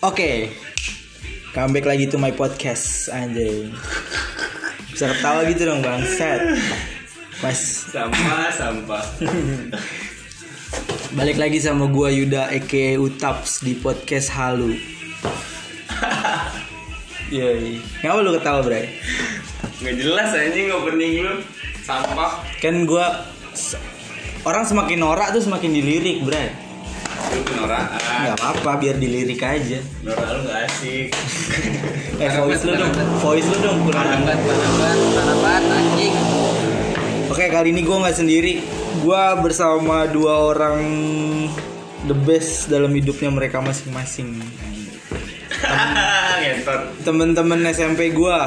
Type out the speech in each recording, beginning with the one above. Oke. Comeback lagi to my podcast anjing. Bisa ketawa gitu dong bangsat. Mas sampah sampah balik lagi sama gua Yuda Eke Utaps di podcast Halu. Yoi. Ngapa lu ketawa, Bray? nggak jelas anjing opening lu sampah Kan gua s- orang semakin norak tuh semakin dilirik, Bray. lu kenoraan Enggak apa-apa, biar dilirik aja. norak lu nggak asik Eh, voice lu dong, voice lu dong kurang. Tanabat, tanabat, tanabat, anjing. Oke kali ini gue nggak sendiri, gue bersama dua orang the best dalam hidupnya mereka masing-masing. ngentot Temen-temen SMP gue,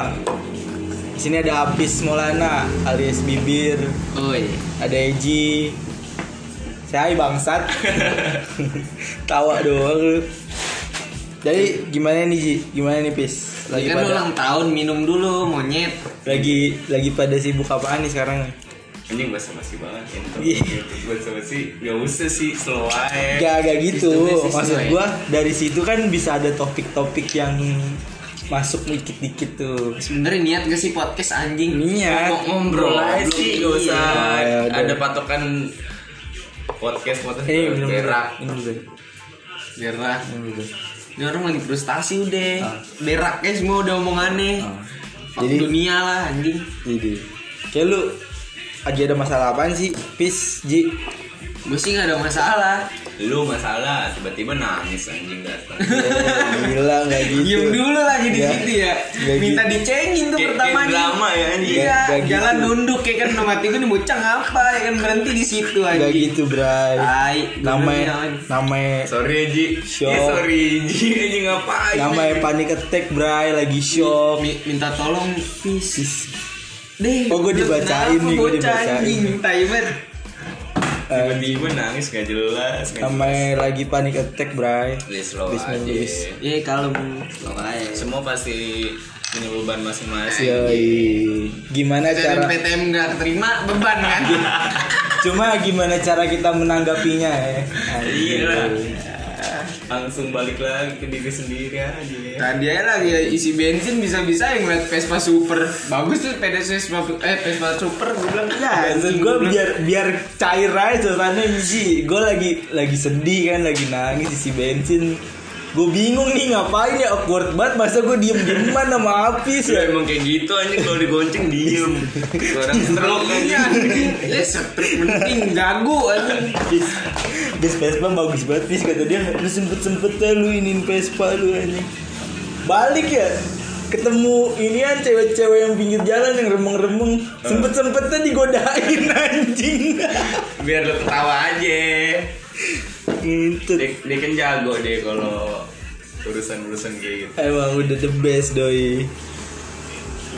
di sini ada Apis Maulana alias Bibir, Oi. ada Eji, saya bangsat, tawa doang lu. Jadi gimana nih Ji? Gimana nih Pis? Lagi kan pada ulang tahun minum dulu monyet. lagi lagi pada sibuk apaan nih sekarang? anjing bahasa basi banget ngentot Iya. bahasa basi nggak usah sih slow aja Gak, gak gitu. Sistemnya sih Maksud sesuai. gua dari situ kan bisa ada topik-topik yang masuk dikit-dikit tuh. Sebenernya niat gak sih podcast anjing? Niat. Ngom- Ngobrol aja sih. nggak usah Iya, udah. ada patokan podcast podcast Eh, minum dulu. berak Minum dulu. Berak. minum dulu. Ini orang lagi frustasi udah. Ah. Beraknya semua udah omongannya. Ah. Jadi Jadi- Oh. dunia lah anjing. Jadi, kayak lu lagi ada masalah apaan sih? Pis, Ji. Gue sih gak ada masalah. lu masalah tiba-tiba nangis anjing datang Gila gak gitu. Diem dulu lagi di Gak- situ ya. gak Minta gitu. dicengin tuh Kayak- pertama kayak nih. drama ya, anjing. Iya, Gak- gak jalan gitu. nunduk kayak kan udah mati gue nih bocah apa ya kan berhenti di situ Gak anjing. gitu, Bray. Tai, Namanya bener nih, namanya sorry Ji Shock. eh. Eh, sorry Ji anjing ngapain namanya panik attack, Bray, lagi shock. Mi- minta tolong pis. Deh. Oh, gua lu dibacain kenapa nih, gua bocah dibacain. anjing? Tai banget. Eh, tiba-tiba nangis gak jelas Iya. nggak namanya lagi panik attack, Bray. jelas. Please, slow Please, aja please. Eh. Iya, kalem. Makanya. semua pasti punya beban Iya. masing-masing Iya. Yoi. Gimana Cara cara PTM gak terima beban kan? Iya. Cuma gimana cara kita menanggapinya ya? Iya. langsung balik lagi ke diri sendiri aja Tadi aja lagi ya, isi bensin bisa-bisa yang ngeliat Vespa Super. Bagus tuh Vespa eh Vespa Super gue bilang. "Ya, Nah, gue anjing, gua bilang, biar biar cair aja suasana sih. Gue lagi lagi sedih kan, lagi nangis isi bensin. Gue bingung nih ngapain ya awkward banget masa gue diem dieman sama Apis Ya, ya. emang kayak gitu anjing kalau digonceng diem Orang stroke Iya, anjing anjing. ya setruk penting jago anjing. Bis, bis Vespa bagus banget bis kata dia lu sempet sempet lu iniin Vespa lu anjing. Balik ya ketemu inian cewek-cewek yang pinggir jalan yang remeng-remeng sempet sempetnya digodain anjing Biar lo ketawa aja Ngintut. Dia, dia kan jago deh kalau urusan-urusan kayak gitu Emang udah the best doi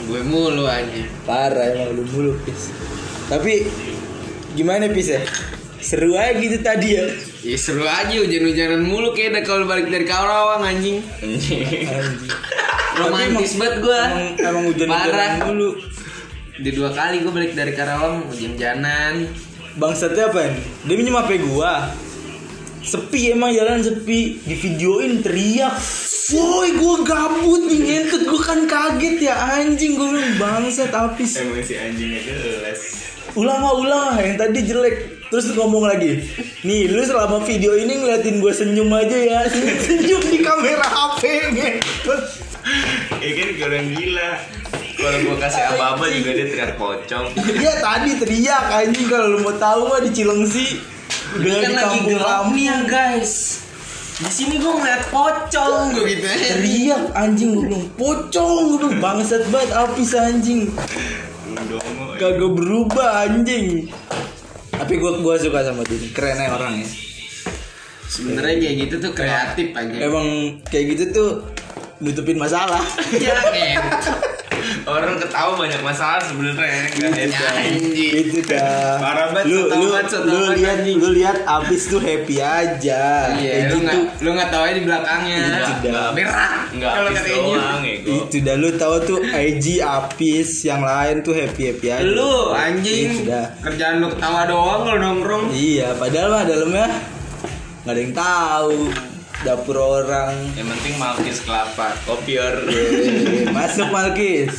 Gue mulu anjing. Parah emang lu mulu Pis Tapi gimana Pis ya? Seru aja gitu tadi ya Ya seru aja hujan-hujanan mulu kayak ada kalau balik dari Karawang anjing. Iya. Anjing. Anjing. Romantis banget gua. Emang, emang hujan-hujan Parah. dulu Di dua kali gua balik dari Karawang hujan-hujanan. Bangsatnya apa Dia minjem HP gua Sepi emang jalan sepi Di videoin teriak Woi gua gabut nih ngentut Gua kan kaget ya anjing Gua bilang bangsat Apis Emang si anjingnya jelas ulama-ulama yang tadi jelek terus ngomong lagi nih lu selama video ini ngeliatin gue senyum aja ya senyum di kamera HP ngentot. Ya kan kayak orang gila Kalau gua kasih apa-apa juga dia teriak pocong dia tadi teriak anjing kalau lu mau tahu mah di Cilengsi udah Kan di lagi kampung gelap kampung nih ya guys. Di sini gua ngeliat pocong gua gitu aja. teriak anjing gue bilang pocong gue bilang bangsat banget apis anjing Lu dongo ya. kagak berubah anjing tapi gue gua suka sama dia nih, keren aja orangnya Sebenarnya kayak gitu tuh kreatif aja. emang kayak gitu tuh nutupin masalah Iya, Ken. Orang ketawa banyak masalah sebenarnya nggak Iya. Ya, hebat. anjing. gitu dah Parah banget, lu setahun lu banget, setahun lu banget, lihat anjing. lu lihat abis tuh happy aja Iya, kayak lu gitu nggak lu nggak tahu aja di belakangnya. Gitu dah. Merah. Enggak Kalau habis kata Eji. doang ego. itu dah lu tahu tuh IG apis yang lain tuh happy happy aja Lu anjing. Gitu dah. Kerjaan lu ketawa doang kalau nongkrong. iya padahal mah dalamnya nggak ada yang tahu dapur orang Yang penting malkis kelapa, kopior. Eh, masuk Malkis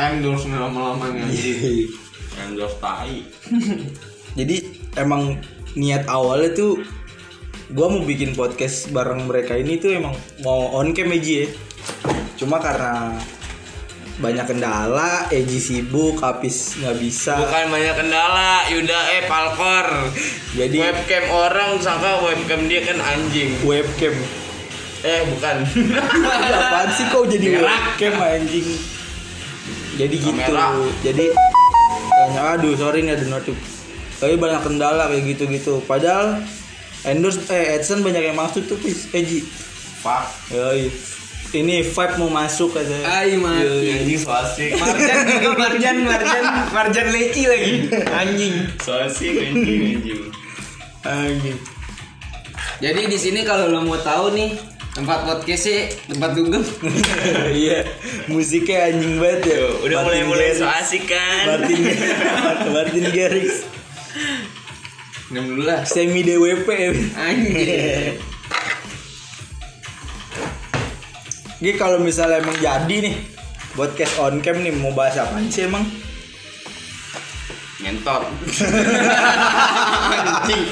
endorse lama-lama nih Endorse tai. jadi emang niat awalnya tuh gua mau bikin podcast bareng mereka ini tuh emang mau on cam Eji ya cuma karena banyak kendala Eji sibuk Apis nggak bisa Bukan banyak kendala, Yuda eh palkor. Jadi- webcam orang sangka webcam dia kan anjing. webcam Eh bukan. Ih, apaan sih kau jadi Merah. webcam anjing jadi gitu Kamera. jadi banyak aduh sorry nih ada notif tapi banyak kendala kayak gitu gitu padahal endorse eh adsense banyak yang masuk tuh Pis, Eji Pak. Yoi. Ini vibe mau masuk aja. Ay mati Anjing so asik. Marjan juga Marjan Marjan Marjan leci lagi anjing So asik anjing anjing. Anjing. jadi di sini kalau lo mau tahu nih tempat podcast sih tempat dugem Iya, musiknya anjing banget ya. Tuh, udah Martin mulai-mulai Garrix. so asik kan. Martin Martin Garrix enam dulu lah semi DWP. ya. anjing Gih kalau misalnya emang jadi nih podcast on cam nih mau bahas apa sih emang? Ngentot. anjing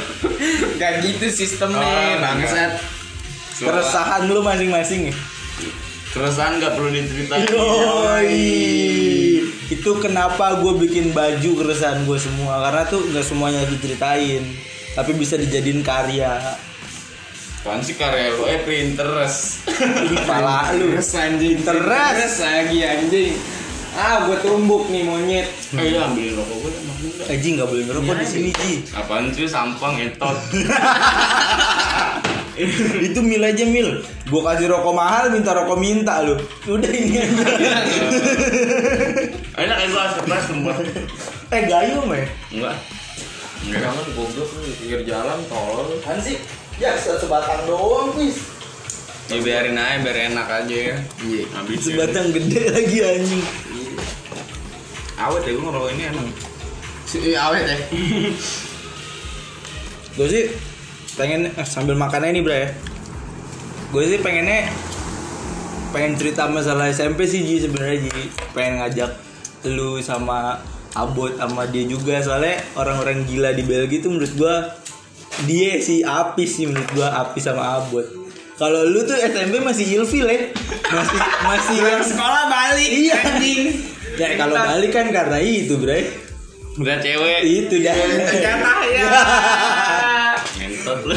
gak gitu Oh, sistemnya bangsat Keresahan lu masing-masing nih. Keresahan nggak perlu diceritain. Yoi. Itu kenapa gue bikin baju keresahan gue semua karena tuh nggak semuanya diceritain tapi bisa dijadiin karya. Kan sih karya lo eh Pinterest. Ini pala lu. terus anjing Interest. Interest lagi anjing ah gue tumbuk nih monyet Eh iya ambilin rokok gue sama gue. Eh, Ji nggak boleh ngerokok di sini Ji. Apaan sih sampang Eh, entot. Itu mil aja mil. Gua kasih rokok mahal minta rokok minta lu. Udah ini aja. Enak ya gue asap kelas sumpah. eh gayung ya. Enggak. Enggak kan goblok lu di pinggir jalan tolol. Kan sih ya sebatang doang please. Ya biarin aja biar enak aja ya. iya Habis Sebatang gede lagi anjing. Awet ya gue ngerokok ini enak. si awet ya Gue sih pengen eh, sambil makannya ini bro ya. Gue sih pengennya pengen cerita masalah SMP sih Ji sebenarnya Ji. Pengen ngajak lu sama Abot sama dia juga soalnya orang-orang gila di Belgia tuh menurut gua dia si Apis sih menurut gua Apis sama Abot. Kalau lu tuh SMP masih ilfil ya. Masih masih yang sekolah balik Iya. anjing Ya kalau balik kan karena itu, Bro. Udah cewek. Itu dah. jatah ya Entot lu.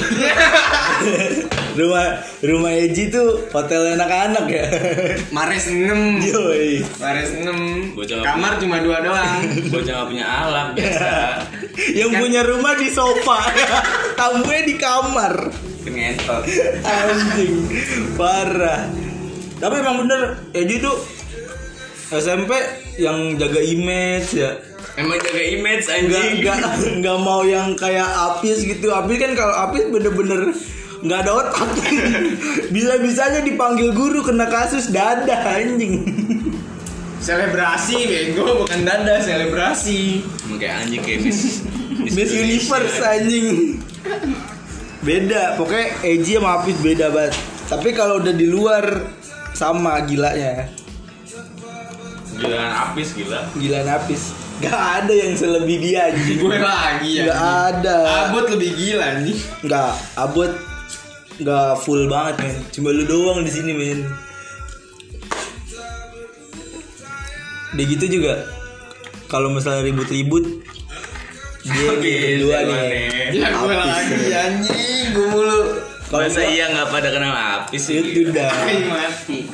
rumah rumah Eji tuh hotel anak-anak ya. mares 6 Yoi. mares 6 Gua jangan- kamar cuma dua doang Gue jangan punya alat biasa. Yang Kan- punya rumah di sofa, tamunya di kamar. Kan ngentot. Anjing, parah. Tapi emang bener, Eji tuh SMP yang jaga image ya. Emang jaga image Nggak anjing. nggak nggak mau yang kayak Apis gitu. Apis kan kalau Apis bener-bener nggak ada otak. Bisa-bisanya dipanggil guru kena kasus dada anjing. selebrasi bego bukan dada selebrasi Emang kayak anjing kayak Miss. Miss Universe anjing. Beda, pokoknya Eji sama Apis beda banget. Tapi kalau udah di luar sama gilanya, Jualan apis gila. gilaan Apis. Gak ada yang selebih dia anjing. gue lagi ya Gak ada. abut lebih gila nih Gak abot. Gak full banget men. Cuma lu doang di sini men. Dia gitu juga. Kalau misalnya ribut-ribut, dia yang kedua nih. ya gue Apis, lagi men. anjing gue mulu Kalau Masa gua- iya nggak pada kenal apis itu dah. Ay, mati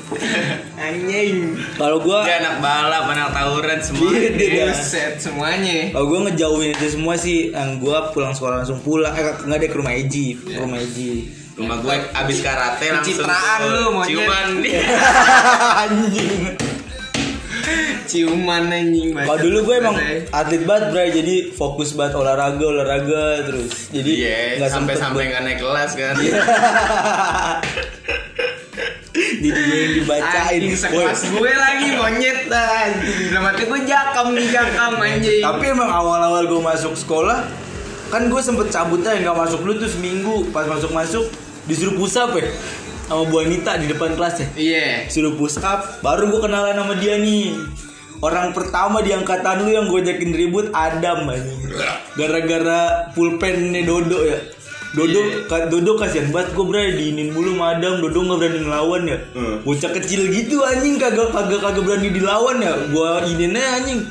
anjing Kalau gua Dia anak balap, anak tawuran semua. Iya, dia- ini. Buset semuanya Kalau gue ngejauhin itu semua sih, yang gue pulang sekolah langsung pulang, eh nggak deh ke rumah Eji, ke rumah Eji. Rumah gue abis karate langsung. Pencitraan lu, monyet. Ciuman dia. Anjing. ciuman anjing banget. Kalau dulu gue emang atlet banget bray, jadi fokus banget olahraga, olahraga terus. Jadi Iya, nggak sampai sempet sampai nggak naik kelas kan. Jadi gue yang dibacain. Anjing sekelas Woi, gue lagi monyet anjing. Dalam hati gue jakam nih jakam anjing. Tapi emang awal-awal gue masuk sekolah, kan gue sempet cabutnya yang gak masuk dulu tuh seminggu pas masuk masuk disuruh pusap ya sama Bu Anita di depan kelas ya Iya. suruh push up baru gue kenalan sama dia nih orang pertama di angkatan lu yang gue ajakin ribut Adam anjing gara-gara pulpennya Dodo ya Dodo Iya. ka- Dodo kasihan banget gue berani diinin mulu sama Adam Dodo nggak berani ngelawan ya Hmm. bocah kecil gitu anjing kagak kagak kagak berani dilawan ya gue ininnya anjing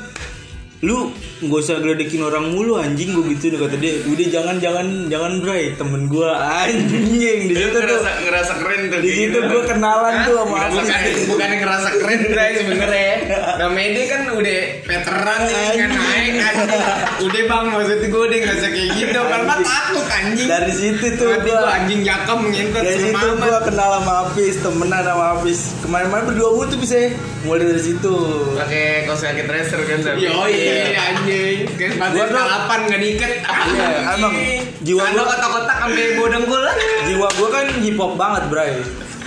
lu nggak usah geledekin orang mulu anjing gue gitu kata dia udah jangan jangan jangan bray temen gue anjing di Lu situ tuh ngerasa, ngerasa keren tuh di kayak situ gitu. gue kenalan kan tuh sama Ngerasa Agus keren, bukan ngerasa keren guys sebenernya Namanya dia kan udah veteran nih kan naik anjing Udah bang maksudnya gue udah ngerasa kayak gitu Karena takut anjing dari situ tuh Nanti gua gue anjing yakam ngintet dari sama situ Ahmad gua kenal sama Hafiz temenan sama Hafiz kemarin-kemarin berdua mulu tuh bisa ya. mulai dari situ pakai kaos kaki tracer kan Sam? Yo iya anjing Kayak sepatu Gua tuh- kalapan gak diikat Iya, emang. Jiwa Jiwa gue gua- kotak-kotak sampai bawa dengkul jiwa gua kan hip hop banget bray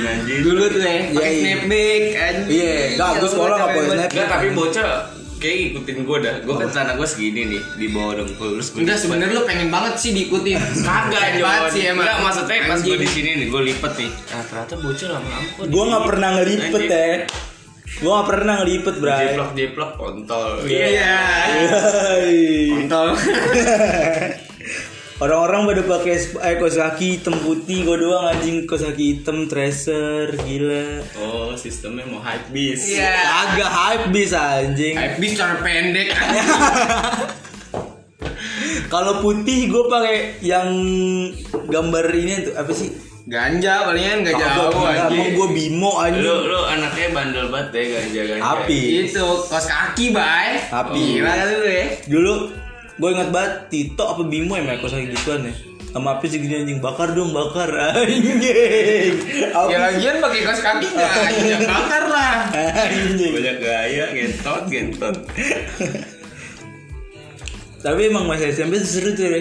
Anjing. Dulu tuh ya Pake Iya, iya. snapback anjing Iya, gak, gua sekolah gak pakai snapback. Enggak, tapi bocah kayak ngikutin gue dah. Gue kan celana gue segini nih di bawah dengkul. Terus gue Enggak sebenernya lu pengen banget sih diikutin kagak Pengen Jon. banget sih emang Enggak, maksudnya pas gue Anjing. di sini nih, gue lipet nih. Nah, ternyata bocah lama-lama kok gua nggak pernah ngelipet Anjing. ya gua nggak pernah ngelipet bray Jeplok jeplok kontol. Iya. Yoi. Kontol. orang-orang pada pakai sp- eh, kaos kaki hitam putih gua doang anjing kaos kaki hitam tracer gila Oh, sistemnya mau hype bis. Iya. agak hype bis anjing Habis cara pendek. kalau putih gua pakai yang gambar ini tuh apa sih Ganja palingan enggak Eh, jauh Emang anjing. gue bimo Lu anjing lu anaknya bandel banget deh ganja ganja. Api Itu kos Gitu, kaki, Bay. Tapi- Gila kan lu ya. Dulu gue inget banget Tito apa Bimo ya mereka kayak gituan ya Sama Api segini anjing Bakar dong bakar Anjing Ya Api lagian pakai kos kaki enggak anjing yang bakar lah. Anjing Banyak gaya gentot gentot. Tapi emang masa SMP tuh seru tuh ya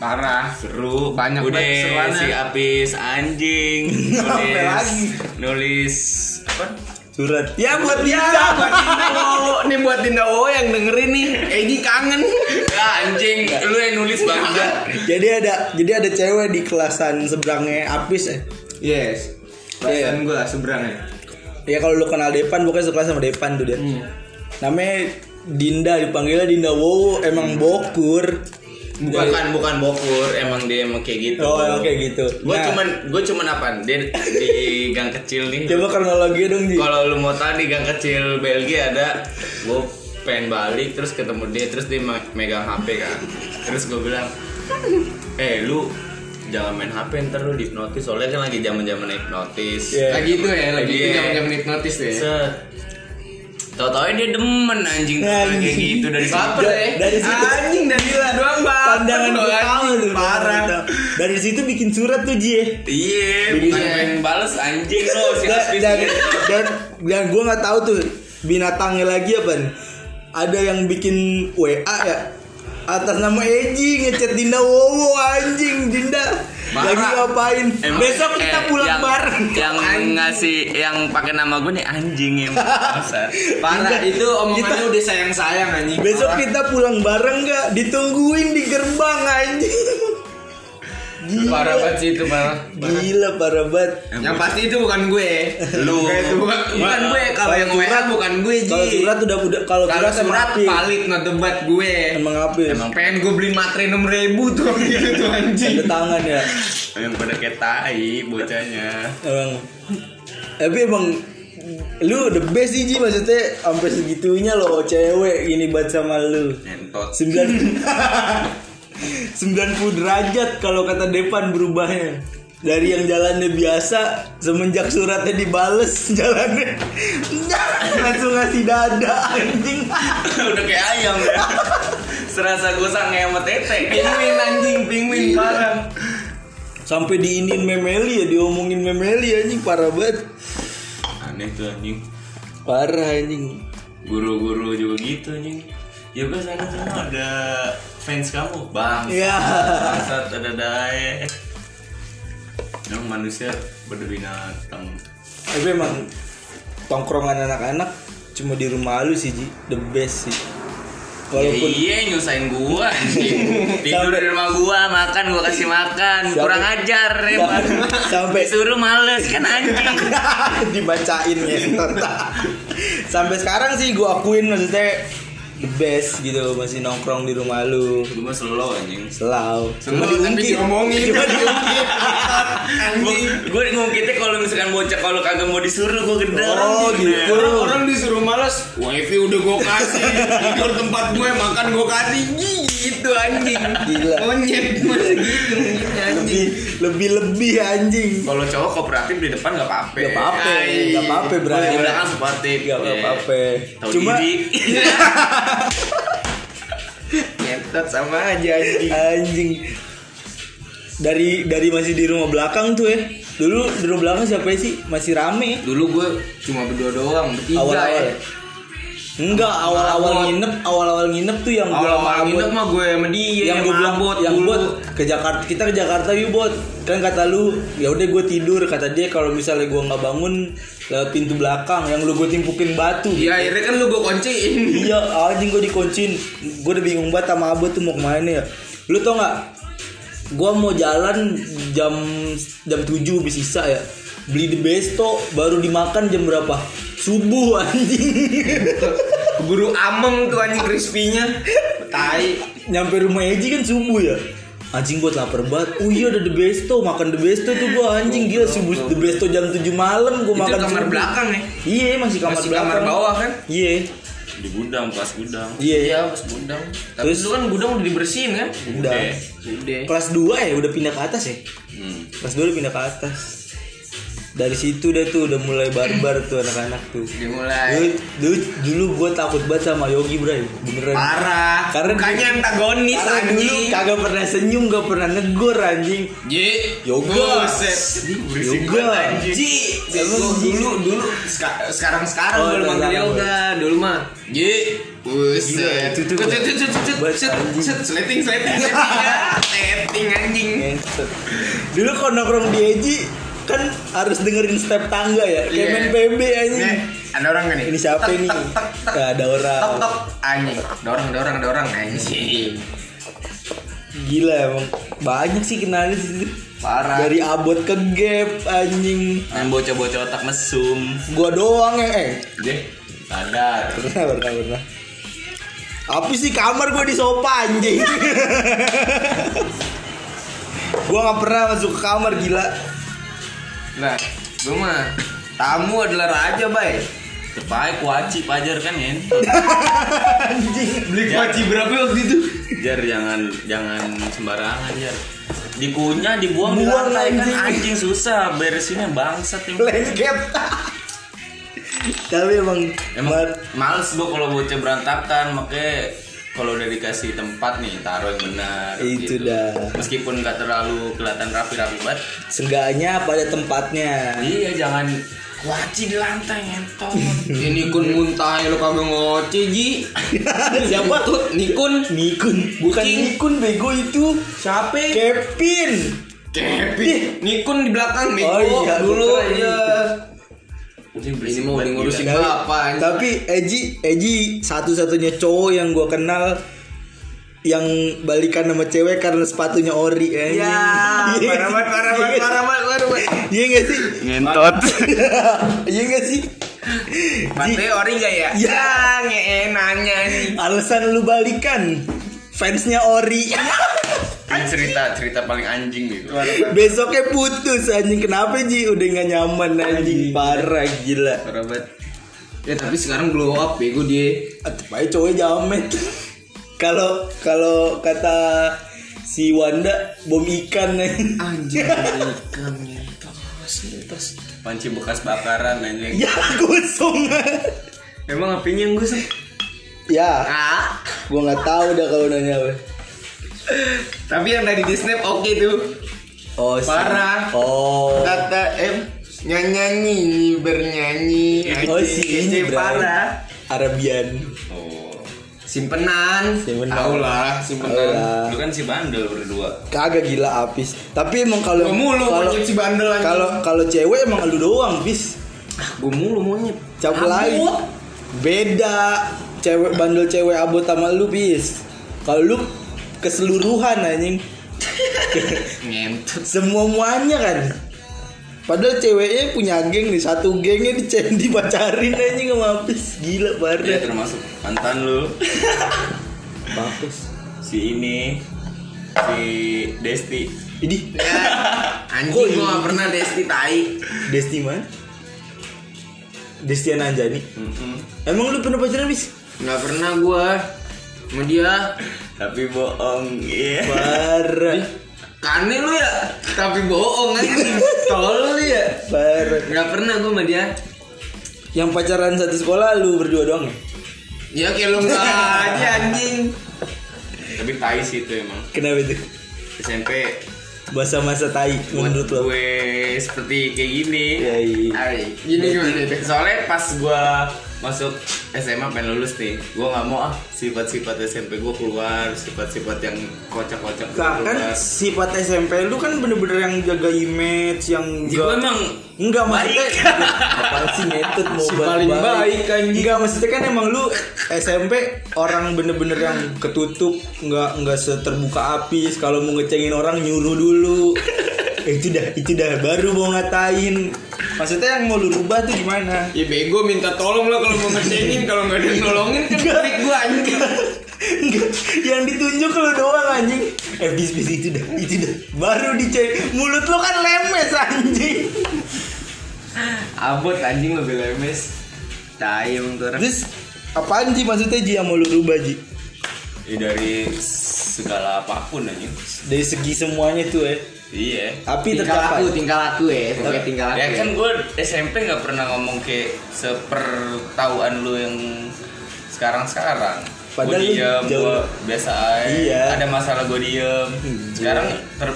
Parah. Seru Nah, Banyak Udah banget seruannya. si Apis anjing Apa nulis lagi? nulis apa? Surat Ya buat dia Iya, Buat Dinda Wowo. Nih buat Dinda Wowo yang dengerin nih. Egi kangen. Ah, anjing lu yang nulis banget. Jadi ada Jadi ada cewek di kelasan seberangnya Apis ya Yes. Perasaan gue seberangnya. Ya kalau lu kenal Depan Bukannya sekelas sama Depan tuh dia Iya. Namanya Dinda dipanggilnya Dinda Wowo Emang bokur Hmm. Bukan bukan bokur, emang dia emang kayak gitu. Oh oke gitu Gue Nah, cuman gue cuman apaan? Dia di gang kecil nih. Coba kronologi dong Ji Kalau lu mau tahu di gang kecil Belgia ada gue pengen balik terus ketemu dia terus dia ma- megang HP kan. Terus gue bilang, "Eh, lu jangan main HP ntar lu dihipnotis soalnya kan lagi zaman-zaman hipnotis." Iya. Lagi itu ya, lagi itu Iya. jam-jam hipnotis tuh ya. Set. Tahu-tahu dia demen anjing Nah, kayak Anjing. gitu dari Baper Da- ya. dari situ- anjing dan gila doang baper pandangan doang, pertama anjing. tuh parah. pandangan pertama. dari situ bikin surat tuh Ji ya. Iya, bukan Iya. pengen bales anjing lo si dan Hafiz dan, gitu. dan, dan gue nggak tahu tuh binatangnya lagi apa nih. ada yang bikin WA ya atas nama Eji ngechat Dinda Wowo anjing Dinda Marah. lagi ngapain Emang- besok kita eh, pulang yang- bareng Yang ngasih yang pakai nama gue nih anjing yang bangsat. Parah Kita- itu omongannya kita- udah sayang-sayang anjing. besok Parah. kita pulang bareng nggak ditungguin di gerbang anjing gila parah banget sih itu parah. gila parah banget Yang pasti itu bukan gue. Lu. Bukan itu, bukan, bukan gue kalau yang gue bukan gue Ji. kalau surat udah udah kalau Kalau surat, emang surat apik. valid no debat gue. emang apik. Emang Pengen gue beli matre 6000 tuh gitu tuh anjing. ada tangan ya yang pada kayak tai bocahnya. emang tapi emang lu the best sih Ji maksudnya sampai segitunya loh cewek gini banget sama lu Entot. sembilan 90 derajat kalau kata Depan berubahnya dari yang jalannya biasa semenjak suratnya dibales jalannya langsung ngasih dada anjing Udah kayak ayam ya. Serasa gue sange sama tete. Penguin anjing, penguin parah. sampai diinin memeli ya diomongin memeli anjing parah banget Aneh tuh anjing. parah anjing Guru-guru juga gitu anjing. Yoga sana sana ada fans kamu bang. ya Bangsat ada dae. Yang manusia berbinatang. tapi emang tongkrongan anak-anak cuma di rumah lu sih Ji the best sih walaupun iya nyusahin gua anjing. tidur di rumah gua makan gua kasih makan Sampai- kurang ajar ya Pak. Sampai- disuruh males kan anjing dibacain ngentot sampai sekarang sih gue akuin maksudnya the best gitu masih nongkrong di rumah lu gua mah slow anjing selau Semua tapi diomongin cuma diungkit anjing gue ngungkitnya kalau misalkan bocah kalau kagak mau disuruh gua gedor Oh, gitu. Orang-orang disuruh malas, wifi udah gue kasih, tidur tempat gue, makan gue kasih, gitu anjing. Gila. Monyet masih gitu monyetnya, lebih anjing. lebih lebih anjing kalau cowok kooperatif di depan nggak apa-apa Nggak apa-apa, Ay. nggak apa-apa, Bray. Kalau di belakang suportif gak Iya. apa-apa Tahu cuma diri. Nyetot sama aja anjing. anjing dari dari masih di rumah belakang tuh ya dulu di rumah belakang siapa sih masih rame Dulu gue cuma berdua doang, bertiga awal-awal ya. enggak awal-awal Mabot. nginep awal-awal nginep tuh yang gua Awal-awal mabot. nginep mah gue sama dia, yang gue bilang mabot yang dulu. buat ke Jakarta kita ke Jakarta yuk bot kan kata lu ya udah gue tidur kata dia kalau misalnya gue nggak bangun lewat pintu belakang yang lu gue timpukin batu Iya, akhirnya kan lu gue kunciin. iya anjing gue dikuncin gue udah bingung banget sama abot tuh mau kemana ya lu tau nggak gue mau jalan jam jam 7 habis sisa ya beli di besto baru dimakan jam berapa subuh anjing Keburu amem tuh anjing crispy-nya. Tai. nyampe rumah Eji kan subuh ya anjing gua lapar banget oh iya ada the besto makan the besto tuh gua anjing gila subuh the besto jam 7 malam gua Itu makan kamar subuh. belakang ya. iya masih kamar Masih belakang kamar bawah kan? iya di gudang kelas gudang iya pas gudang. Terus- Terus lu kan gudang udah dibersihin kan? udah Udah. Udah. kelas 2 ya udah pindah ke atas ya Hmm. kelas 2 udah pindah ke atas dari situ dah tuh udah mulai barbar tuh anak-anak tuh Udah mulai. dulu, dulu, dulu gua takut banget sama Yogi bray beneran Parah. Karena- mukanya antagonis Karena dulu anjing. kagak pernah senyum gak pernah negor anjing Ji, Yoga. Buset. Berisik Yoga. banget, anjing. Ji, Emang Gua Ji? dulu dulu sekarang sekarang Oh, baru manggil sekarang. yoga dulu mah. Ji, buset. Gila, ya. itu Cet, tuh. cet, cet, cet, cet, Buat cet, anjing. cet, Sleting, sleting, sleting. ya. Sleting anjing. Ngentot. Dulu kalau nongkrong di Eji kan harus dengerin step tangga ya, kayak main Iya. PB anjing. Nih, ada orang gak nih? Ini siapa Tek, nih? tek, tek, tek. Gak ada orang. Tok tok anjing. Ada orang, ada orang, ada orang anjing. Gila emang banyak sih kenalin di situ. Parah. Dari abot ke gap anjing. yang bocah-bocah otak mesum Gua doang yang eh deh sadar pernah pernah pernah. Apa sih kamar gua di sofa anjing? gua nggak pernah masuk ke kamar gila. Nah, gue mah tamu adalah raja, bay. terbaik wajib pajar kan ya Anjing. Beli kuaci berapa waktu itu? jar jangan jangan sembarangan jar dikunyah dibuang di Buang, lantai kan anjing. anjing susah beresinnya bangsat yang Lengket. Tapi emang emang males gua kalau bocah berantakan makanya kalau udah dikasih tempat nih taruh yang benar gitu. Itu dah. meskipun nggak terlalu kelihatan rapi-rapi banget Seenggaknya pada tempatnya. iya jangan kuaci di lantai ngentot Ini kun muntah ya lu kagak ngoci, Ji. Siapa Tut, Nikun. Nikun. Bukan Kucing. Nikun bego itu. Siapa? Kevin. Kevin. Nikun di belakang, Miko. Oh iya, dulu gua kira aja. Anjing, Ini berisik mau banget, ngurusin gila. apa? anjing? Tapi Eji Eji satu-satunya cowok yang gua kenal yang balikan sama cewek karena sepatunya ori eh. Ya, parah banget, parah banget, parah banget, parah banget. Iya gak sih? ngentot Iya gak sih? Ji, Mati ori gak ya? Ya. Ya, ngeenanya nih. alasan lu balikan fansnya ori. ini cerita cerita paling anjing gitu Besoknya putus anjing kenapa Ji udah nggak nyaman anjing parah gila. Parah banget. Ya tapi sekarang glow up bego dia. Tetep aja ya, cowoknya jamet Kalau kalau kata si Wanda bom ikan Anjing, ikan nyentos, nyentos. panci bekas bakaran anjing Ya gosong Iya. Emang apinya yang gue sih? Ya Ah. gua nggak tahu dah kalau nanya apa Tapi yang dari di snap oke tuh. Oh si- Parah. Oh Tata M nyanyi bernyanyi. Oh si ini Kece Bray. parah. Arabian oh Simpenan. Simpenan. Tahu lah, simpenan. Alah. lu kan si bandel berdua Kagak gila abis Tapi emang kalau Gua mulu, kalau monyet si bandel anjing. kalau kalau cewek emang lu doang bis Gue mulu monyet. Cabut lain Cabut. Beda cewek bandel cewek abot sama lu bis kalau lu keseluruhan anjing Ngentut. semua muanya kan padahal ceweknya punya geng nih satu gengnya dicen dipacarin anjing sama habis gila ya parah termasuk mantan lu bagus si ini si Desti jadi Ya, Kok anjing ini? gua gak pernah desti tai. Desti mana Destian Anjani emang lu pernah pacaran bis Gak pernah gua sama dia. tapi bohong iya parah Kane lu ya, tapi bohong kan. Tolol lu ya. parah Gak pernah gua sama dia. yang pacaran satu sekolah lu berdua doang ya Ya kayak lu gak aja anjing. tapi tai sih itu emang kenapa itu SMP bahasa masa tai buat menurut lo gue seperti kayak gini Ya, iya. Ay, Gini gimana deh? soalnya pas gue masuk SMA pengen lulus nih gue nggak mau ah sifat-sifat SMP gue keluar sifat-sifat yang kocak-kocak gua Nah, kan keluar. sifat SMP lu kan bener-bener yang jaga image yang Jadi gue enggak emang enggak maksudnya Baik. apaan sih ngetut mau Si paling baik, anjing. enggak maksudnya kan emang lu SMP orang bener-bener yang ketutup enggak enggak seterbuka api kalau mau ngecengin orang nyuruh dulu Eh, itu dah itu dah baru mau ngatain maksudnya yang mau lu rubah tuh gimana Ya bego minta tolong lah kalau mau ngecengin kalau nggak ada yang nolongin kan klik gua anjing. Enggak, yang ditunjuk lu doang anjing. Eh bis bis itu dah, itu dah. Baru dicek mulut lu kan lemes anjing. Abot anjing lebih lemes. Tai emang tuh orang. Terus apaan sih maksudnya Ji yang mau lu rubah Ji? ya dari segala apapun aja Dari segi semuanya tuh eh. iya Tapi Tingkah laku, tercapai. tingkah laku ya, pokoknya tingkah laku. ya ya. kan gue SMP nggak pernah ngomong kayak sepertauan lu yang sekarang-sekarang gue Padahal lu diem, jauh. gue biasa aja Iya. ada masalah gue diem Hmm, sekarang ter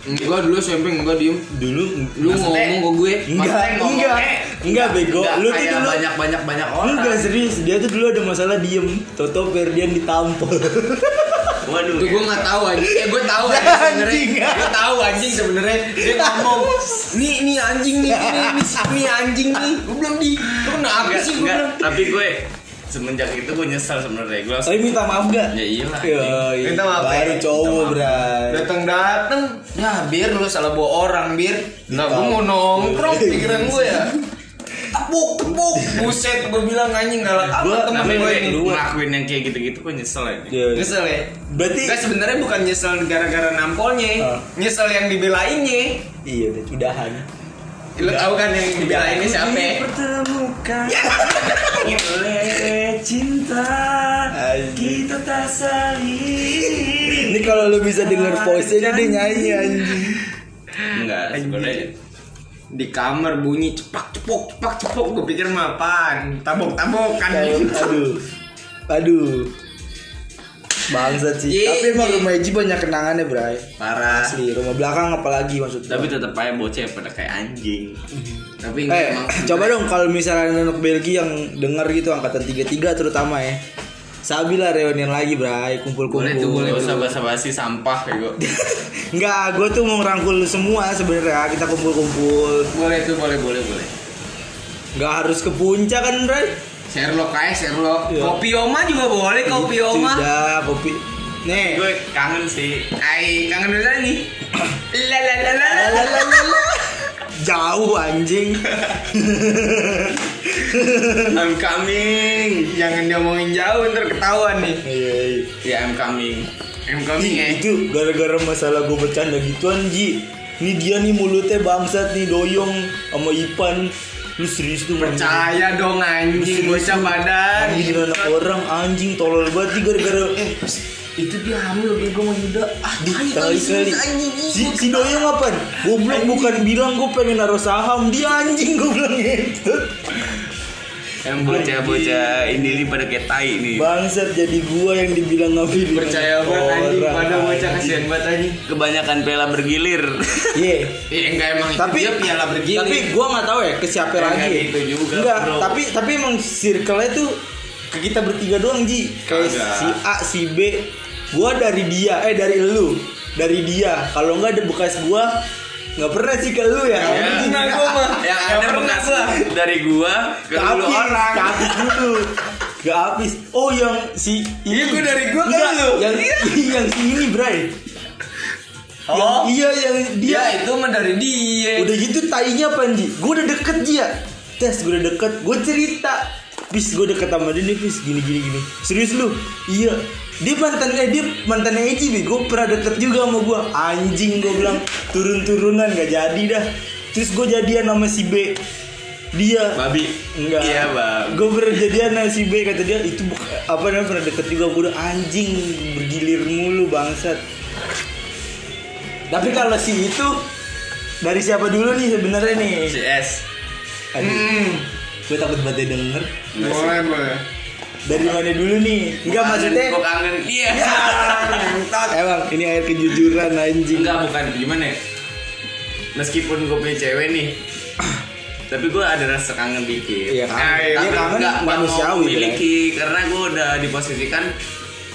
Enggak dulu SMP enggak diem. Dulu Lu Maksudnya- ngomong ke gue. enggak, Maksudnya ngomongnya eh. enggak, enggak bego. nggak Lu tuh kayak dulu banyak banyak banyak orang enggak serius, dia tuh dulu ada masalah diem. Toto Ferdian ditampol. waduh Itu gue nggak tahu anjing. Eh gue tahu kan sebenarnya. Anjing. ya. Gue tahu anjing sebenarnya. Dia ngomong, nih nih anjing nih, nih nih, nih anjing nih. Gue belum di. Lu kenapa Enggak, sih gue enggak. belum? tapi gue semenjak itu gue nyesal sebenarnya gue langsung Tapi minta maaf gak? ya iyalah Yoi, Minta maaf, baru eh. cowok bray datang datang ya bir lu salah bawa orang bir nah gue Tahu. mau nongkrong pikiran gue ya tepuk tepuk buset gue bilang anjing galak gue apa temen tapi gue gue ini dua. ngelakuin yang kayak gitu-gitu gue nyesel ya Yoi. nyesel ya Berarti Nggak, sebenarnya bukan nyesel gara-gara nampolnya Ah. nyesel yang dibelainnya iya udah udahan. lu tau kan yang dibelainnya siapa Ya. Dipertemukan Iya, oleh cinta Anjing. kita tak saling. Ini kalau lu bisa denger voice-nya dia nyanyi anjing. Enggak, sebenarnya di kamar bunyi cepak cepuk cepak cepuk gue pikir mah apaan tabok kan. tabokan Kayak, aduh. Aduh. Bangsat sih. Iya, Tapi emang iya. rumah Eji banyak kenangannya, Bray. parah Asli, rumah belakang apalagi maksudnya. tapi tetap aja bocah pada kayak anjing. tapi eh, emang coba dong kalau misalnya anak Belgia yang denger gitu angkatan 33 terutama ya. Sabila reunian lagi, Bray, Boleh tuh, kumpul-kumpul. boleh usah basa-basi sampah ya, kayak gue. Enggak, gue tuh mau ngerangkul lu semua sebenarnya. Kita kumpul-kumpul. boleh tuh boleh boleh boleh Enggak harus ke puncak kan, Bray? Sherlock aja Sherlock. Iya. Kopi Oma juga boleh kopi Oma. Tidak, kopi. Nih. gue kangen sih. Ai kangen dulu nih. La la la la la. Lalalala. Jauh anjing. I'm coming. Jangan diomongin jauh ntar ketahuan nih. Iya, iya. Ya I'm coming. I'm Ih, coming ya. itu gara-gara masalah gue bercanda gituan Ji Ini dia nih mulutnya bangsat nih doyong sama Ipan Lu serius tuh Mang? Percaya dong anjing bocah badan. Anjing dengan anak orang anjing tolol banget nih gara-gara eh, Itu dia hamil bego sama Yuda. Ah, di- tai, tai kali. serius, anjing. Si, si doyong apaan? Goblok bukan bilang gue pengen naruh saham Dia anjing gue bilang gitu Yang bocah-bocah ini nih pada kayak tai nih. Bangsat jadi gua yang dibilang ngambil Iya. Percaya banget anjing pada bocah kasihan banget anjing. Kebanyakan pela bergilir. Iya Eh enggak emang itu tapi dia piala bergilir. tapi gua nggak tahu ya ke siapa Enggak lagi ya. gitu juga, Enggak, bro. tapi tapi emang circle-nya tuh ke kita bertiga doang ji kayak Kagak. si A si B gua dari dia eh dari lu dari dia kalau nggak ada bekas gua nggak pernah sih ke lu ya Nggak Anjing. Ya, pernah gua mah. yang Nggak ada pernah bekas gua. dari gua ke tapi dulu orang. tapi dulu Gak habis. Oh yang si ini. Iya, gua dari gua kan Enggak, lu. Yang yang si ini Bray. Oh. Yang- iya yang dia. Dia itu mah dari dia. Udah gitu tainya Panji. Gue udah deket dia. Tes gue udah deket. Gue cerita. Bis gue deket sama dia nih bis gini gini gini. Serius lu? Iya. Dia mantan eh dia mantannya Eci bi. Gue pernah deket juga sama gue. Anjing gue bilang turun turunan gak jadi dah. Terus gue jadian sama si B. Dia Babi. Enggak. Iya, Bang. Gue pernah jadian sama si B kata dia itu buk- apa namanya pernah deket juga gue udah anjing bergilir mulu bangsat. Tapi kalau si itu dari siapa dulu nih sebenarnya nih? CS. Aduh, gue takut banget dia denger. Boleh, boleh. Dari mana dulu nih? Enggak maksudnya. Gue kangen Iya. dia. Emang ini air kejujuran anjing. Enggak bukan gimana ya? Meskipun gue punya cewek nih, tapi gue ada rasa kangen dikit. Iya, kangen. Tapi Iya, kangen nggak- nggak mau manusiawi, miliki karena gue udah diposisikan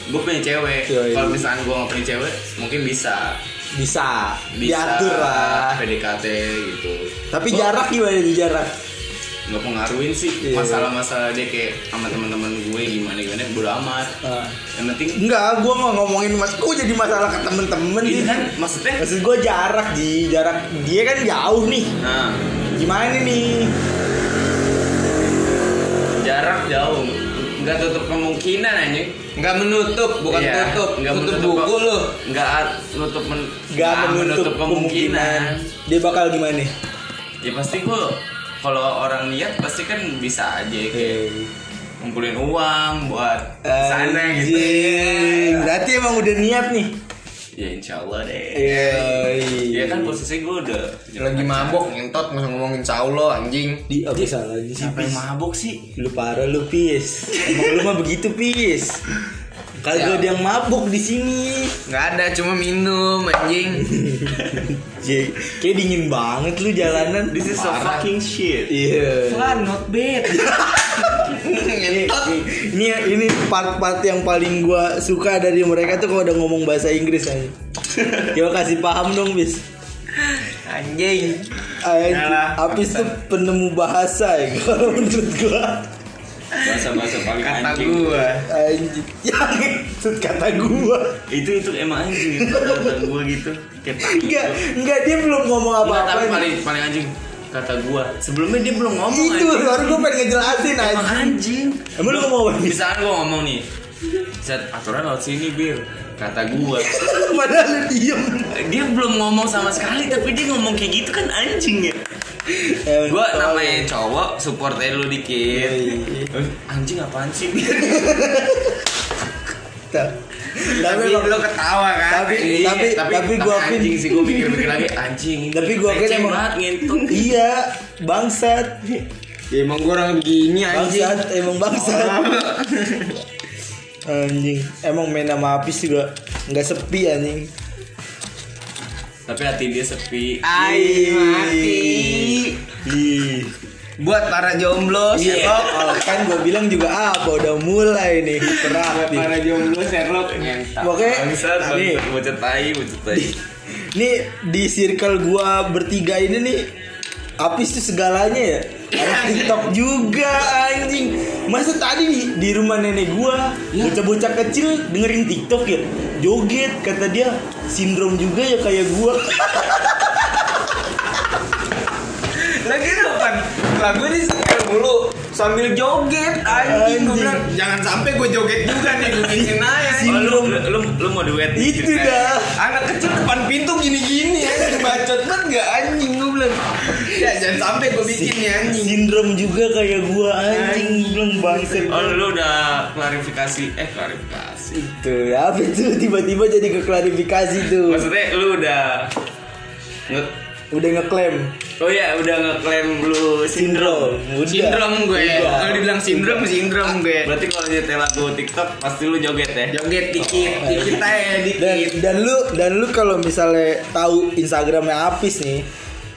gue punya cewek. Iya, iya. Kalau misalkan gue nggak punya cewek, mungkin bisa Bisa, bisa diatur lah. PDKT gitu. Tapi Gua jarak gimana tuh jarak? nggak pengaruhin sih Iya. masalah-masalah dia kayak sama teman-teman gue gimana gimana bodo amat. Ah. Yang penting Enggak, gue mau ngomongin mas, gue jadi masalah ke temen-temen ini nih. kan maksudnya Maksud gue jarak Ji, jarak dia kan jauh nih. nah Gimana nih? jarak jauh nggak tutup kemungkinan anjing Nggak menutup, bukan Iya, tutup. nggak tutup menutup buku kok. lu. nggak a- nutup men- Gak menutup kemungkinan. Dia bakal gimana? ya pasti gue kalau orang lihat pasti kan bisa aja kayak ngumpulin uang buat sana Anjing, gitu Eh, Berarti emang udah niat nih. ya insya Allah deh Iya. ya kan posisi gue udah Lagi mabok ngentot nggak ngomongin saulo anjing. Di apa salahnya sih? sampai mabok sih Lu parah lu pis. Emang lu mah begitu pis. Kagak Ya. ada yang mabuk di sini. Nggak ada, cuma minum anjing. J, kayak dingin banget lu Kan jalanan. this is so Parah. fucking shit Iya. Fun, not bad. ngentot. Ini- ini ini part-part yang paling gua suka dari mereka tuh kalau udah ngomong bahasa Inggris aja. Yo kasih paham dong bis. Anjing. Ay, Yalah, Apis tuh penemu bahasa ya kalau menurut gua. bahasa bahasa paling Kata anjing gua. Anjing. Yang itu ya, kata gua. itu itu emang anjing itu kata gue gitu kayak tai Enggak, gitu. enggak dia belum ngomong Nggak, apa-apa. tapi nih. paling paling anjing kata gua sebelumnya dia belum ngomong itu anjing. baru gua pengen ngejelasin Emang aja. anjing Emang lu ngomong apa? misalkan gua ngomong nih set aturan laut sini bir kata gua Padahal lu diem. dia belum ngomong sama sekali tapi dia ngomong kayak gitu kan anjing ya Emang gua tolong. namanya cowok support aja lu dikit Iya, iya. Eh, anjing apaan sih Ta- Tapi Tapi emang- lu ketawa kan? Tapi- Iya, tapi- tapi gua akuin- anjing sih gua pikir-pikir lagi anjing tapi gua Receh kan emang banget ngentot Iya, bangsat. Ya, emang gua orang begini anjing. Bangsat, emang bangsat. Anjing, emang main sama Apis juga nggak sepi anjing. tapi hati dia sepi Ah. Ai mati. Ih. Buat para jomblo, Iya, Sherlock. oh, kan gue bilang juga apa udah mulai nih Buat berat nih. para jomblo, Sherlock. Ngentot. Oke, bangsat nih, bangsat bocet tai bocet tai nih di circle gua bertiga ini nih Apis tuh segalanya ya. Anak TikTok juga anjing. Masa tadi di, di rumah nenek gua Iya. bocah-bocah kecil dengerin TikTok ya. Joget kata dia sindrom juga ya kayak gua. Lagi kapan? Lagu ini setel mulu sambil joget anjing gue Anjing. bilang jangan sampai gue joget juga nih gue bikin aja. Oh, lu, lu, lu mau duet Itu dah. Anak kecil depan pintu gini-gini ya bacot banget nggak anjing gue bilang. Ya jangan sampai gue bikin nih anjing. Sindrom juga kayak gua anjing belum bangsa. Oh lu udah klarifikasi Eh klarifikasi Itu apa tuh tiba-tiba jadi keklarifikasi tuh. Maksudnya lu udah nge Udah ngeklaim Oh ya udah ngeklaim lu sindrom. sindrom Udah. Sindrom gue. Udah. Kalau dibilang sindrom sindrom gue. Berarti kalau nyetel lagu TikTok pasti lu joget ya Joget dikit, dikit aja Dan dikit. dan lu dan lu kalau misalnya tahu Instagramnya Apis nih,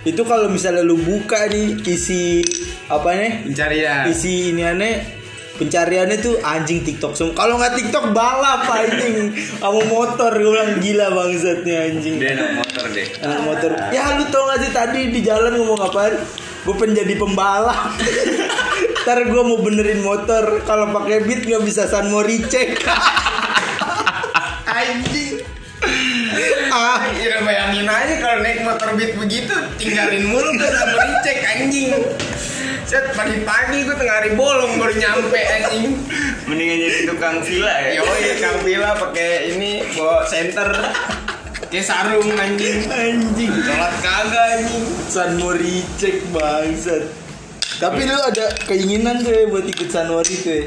itu kalau misalnya lu buka nih isi apa nih? Pencarian. Isi ini aneh pencariannya tuh anjing TikTok semua. Kalau nggak TikTok balap anjing sama motor gue bilang gila bangsatnya anjing. Dia naik motor deh Ah, motor. Ya lu tau gak sih tadi di jalan ngomong apaan? Gue pengen jadi pembalap. Ntar gue mau benerin motor Kalau pakai beat nggak bisa San Moricek Anjing. ah, Ya bayangin aja kalau naik motor beat begitu tinggalin mulu gue gak mau dicek anjing. Set pagi-pagi gue tengah hari bolong baru nyampe anjing. Mendingan jadi tukang villa ya. Yoi Kang Vila pakai ini bawa senter. Kayak sarung anjing. Anjing Sholat kagak anjing. San Moricek bangsat Tapi lu ada keinginan tuh ya buat ikut San Mori tuh ya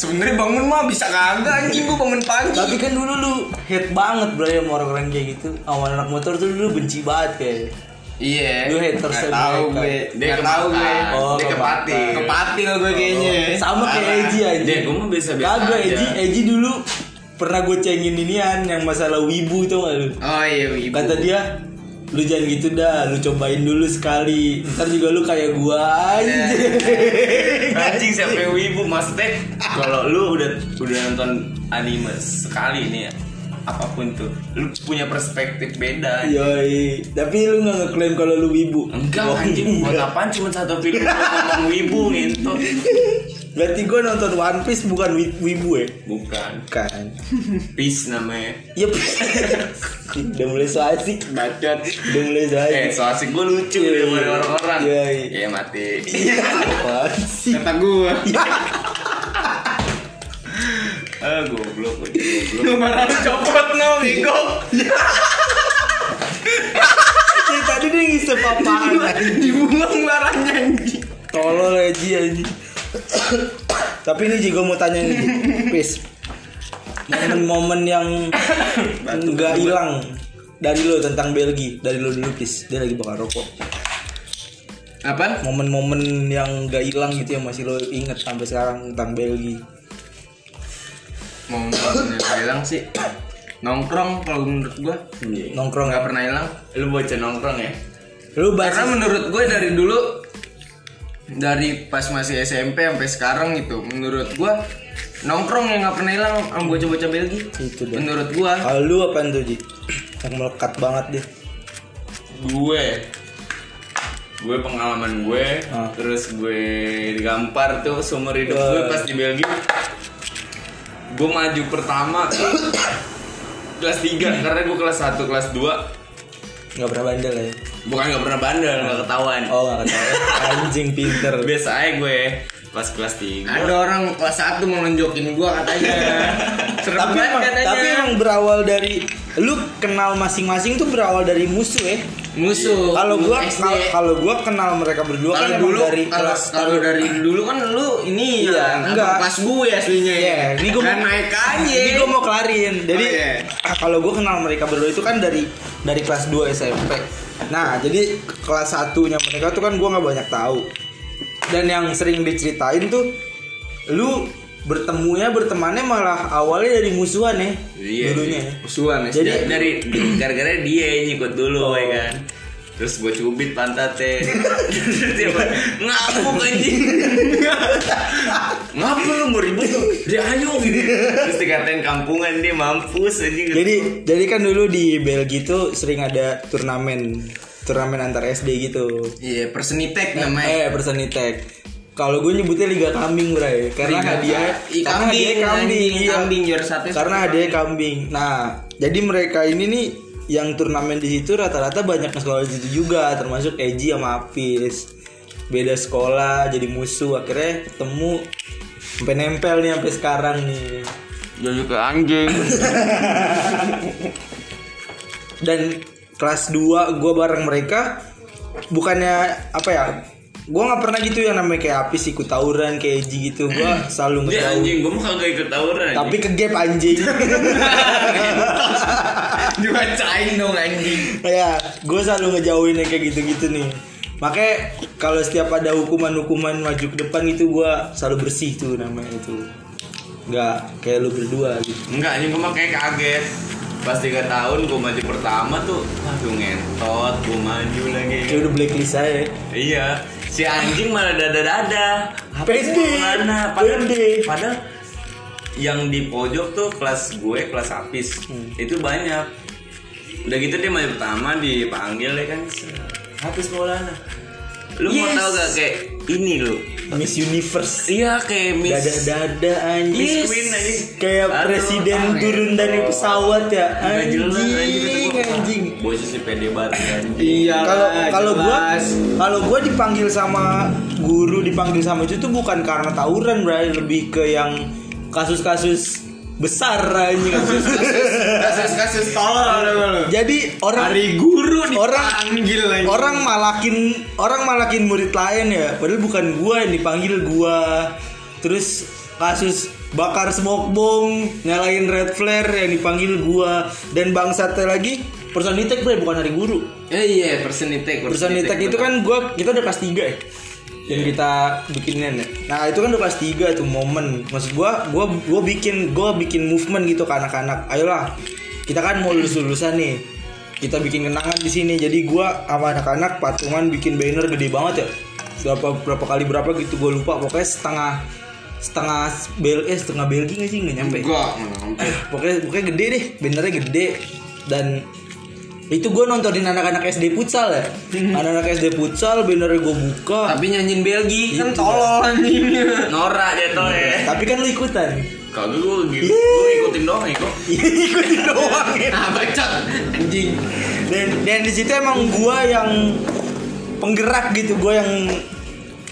Sebenarnya bangun mah bisa kagak anjing gue bangun pagi. Tapi kan dulu lu hate banget bro ya sama orang-orang kayak gitu Sama anak motor tuh dulu benci banget kayak Iya. Lu haters Gak aja, tahu mereka. gue. Dia Gak tahu gue. kepatah. Oh, Dia kepatah. kepatil. Kepatil gue kayaknya. ya. Sama kayak Parah. Eji aja Dia gue mah biasa-biasa Kagak aja. Eji, Eji dulu pernah gue cengin inian yang masalah wibu itu gak lu Oh iya ibu. Kata dia lu jangan gitu dah, lu cobain dulu sekali. Ntar juga lu kayak gua aja. Iya. Anjing siapa yang wibu maksudnya kalau lu udah udah nonton anime sekali nih ya apapun tuh lu punya perspektif beda Iya. Yoi, tapi lu nggak ngeklaim kalau lu wibu. enggak Wah, anjing buat enggak. apaan cuma satu film lu ngomong wibu gitu Berarti gua nonton One Piece bukan wi- wibu ya? bukan Bukan. peace namanya Yep. Iya, Udah mulai so asik. bacot Udah mulai so eh asik. so asik gue lucu Iya, dari iya. orang-orang Iya, iya. ya mati Apaan sih? Kata gue. ah goblok udah goblok Nomor copot no bego. Ya, tadi dia ngisep apaan anjing. Dibuang barangnya anjing. Tolol aja anjing. Tapi ini juga mau tanya nih, Pis. Momen-momen yang nggak hilang dari lo tentang Belgi, dari lo dulu Pis. Dia lagi bakar rokok. Apaan? Momen-momen yang nggak hilang gitu yang masih lo inget sampai sekarang tentang Belgi. Mau ngomongin hilang sih. Nongkrong kalau menurut gua Nongkrong Iya. nggak apa? pernah hilang. lu bocah nongkrong ya Lu Karena bahas menurut gue dari dulu dari pas masih SMP sampai sekarang gitu menurut gua nongkrong yang nggak pernah hilang sama bocah-bocah Belgia. Itu dong. Menurut gua kalau lu apaan tuh, Ji? Yang melekat banget deh. gue gue pengalaman gue Ah. terus gue digampar tuh seumur hidup gue pas di Belgia gue maju pertama kelas 3 karena gue kelas 1 kelas 2 Nggak pernah bandel ya. bukan nggak pernah bandel nggak ketahuan Oh, nggak ketahuan. Anjing pinter. biasa aja gue pas kelas 3 ada orang kelas 1 mau nonjokin gua katanya. Serem tapi banget emang, katanya. tapi emang berawal dari lu kenal masing-masing tuh berawal dari musuh ya. musuh. Kalau gua Oh, SD. kalau kalau gua kenal mereka berdua kan kalau emang dulu dari kalau kelas kalau dari dulu kan lu ini Iya, ya enggak. kelas gue aslinya ya Iya, ini gua- Dan naik aja Jadi gua mau kelarin. Jadi ah, Oh, iya. kalau gua kenal mereka berdua itu kan dari dari kelas 2 SMP. Nah, jadi kelas satunya mereka tuh kan gua nggak banyak tahu. Dan yang sering diceritain tuh lu bertemunya bertemannya malah awalnya dari musuhan ya Iya, dulunya. iya. ya. musuhan Jadi- jadi jadi dari gara-gara dia yang nyikut dulu ya kan terus gue cubit pantatnya terus dia bilang, ngapuk anjing ngapa lu mau ribut lu dia ayo gitu terus dikatain kampungan dia mampus anjing Jadi jadi kan dulu di Belgia itu sering ada turnamen turnamen antar SD gitu. iya persenitek namanya Eh persenitek. Kalau gue nyebutnya Liga Kambing bray, karena Liga- hadiah i- karena kambing, hadiahnya kambing, anjing, iya. kambing, juara satu Karena sama hadiahnya kambing. Nah, jadi mereka ini nih yang turnamen di situ rata-rata banyak ke sekolah di situ juga, termasuk Eji sama Hafiz. Beda sekolah, jadi musuh, akhirnya ketemu sampai nempel nih sampai sekarang nih. jadi ke anjing dan kelas 2 gue bareng mereka bukannya apa ya gue nggak pernah gitu yang namanya kayak apis ikut tawuran kayak Eji gitu gue selalu ngetahu dia Iya, anjing gue mau kagak ikut tawuran tapi ke gap anjing eh. dibacain dong anjing ya gue selalu ngejauhin yang kayak gitu-gitu nih makanya kalau setiap ada hukuman-hukuman maju ke depan itu gue selalu bersih tuh namanya itu nggak kayak lu berdua gitu Enggak, anjing gue mah kayak kaget Pas 3 tahun gue maju pertama tuh Waduh ngentot, gue maju lagi kayak udah blacklist saya Iya, si anjing malah dada-dada Apa Pede, sih, Mana? Padahal, pede. padahal yang di pojok tuh kelas gue, kelas apis Hmm. Itu banyak Udah gitu dia maju pertama dipanggil ya kan Apis Maulana Lu mau Yes. tau gak kayak ini lu Miss Universe iya kayak miss dada dada anjing Yes. Miss Queen, anjing. kayak Aduh, presiden aneh. turun dari pesawat ya Nggak anjing jelas anjing, bosnya sih pede banget anjing Iya. kalau kalau gua jelas. kalau gua dipanggil sama guru dipanggil sama itu tuh bukan karena tawuran bray lebih ke yang kasus-kasus besar anjing kasus-kasus tolol ada lu. jadi orang Hari guru orang dipanggil lagi. orang malakin orang malakin murid lain ya padahal bukan gua yang dipanggil gua terus kasus bakar smoke bomb nyalain red flare yang dipanggil gua dan bangsatnya lagi personitek bre bukan hari guru Eh, iya personitek personitek itu kan gua kita udah kelas 3 ya yang kita bikinin ya. Nah itu kan udah kelas 3 tuh momen Maksud gua, gua, gua bikin gua bikin movement gitu ke anak-anak Ayolah kita kan mau lulus-lulusan nih Kita bikin kenangan di sini Jadi gua sama anak-anak patungan bikin banner gede banget ya Berapa, berapa kali berapa gitu gua lupa Pokoknya setengah setengah bel eh setengah belgi gak sih nggak nyampe Enggak. Eh, pokoknya pokoknya gede deh bannernya gede dan itu gue nontonin anak-anak SD futsal ya anak-anak SD futsal bannernya gue buka tapi nyanyiin Belgi kan Kan tolol anjing. Nora jatuh ya tapi kan lu ikutan kagak gua gitu Iya. gua ikutin doang ikut ikutin doang ya Ah, bacot. Anjing. dan dan di situ emang gue yang penggerak gitu gue yang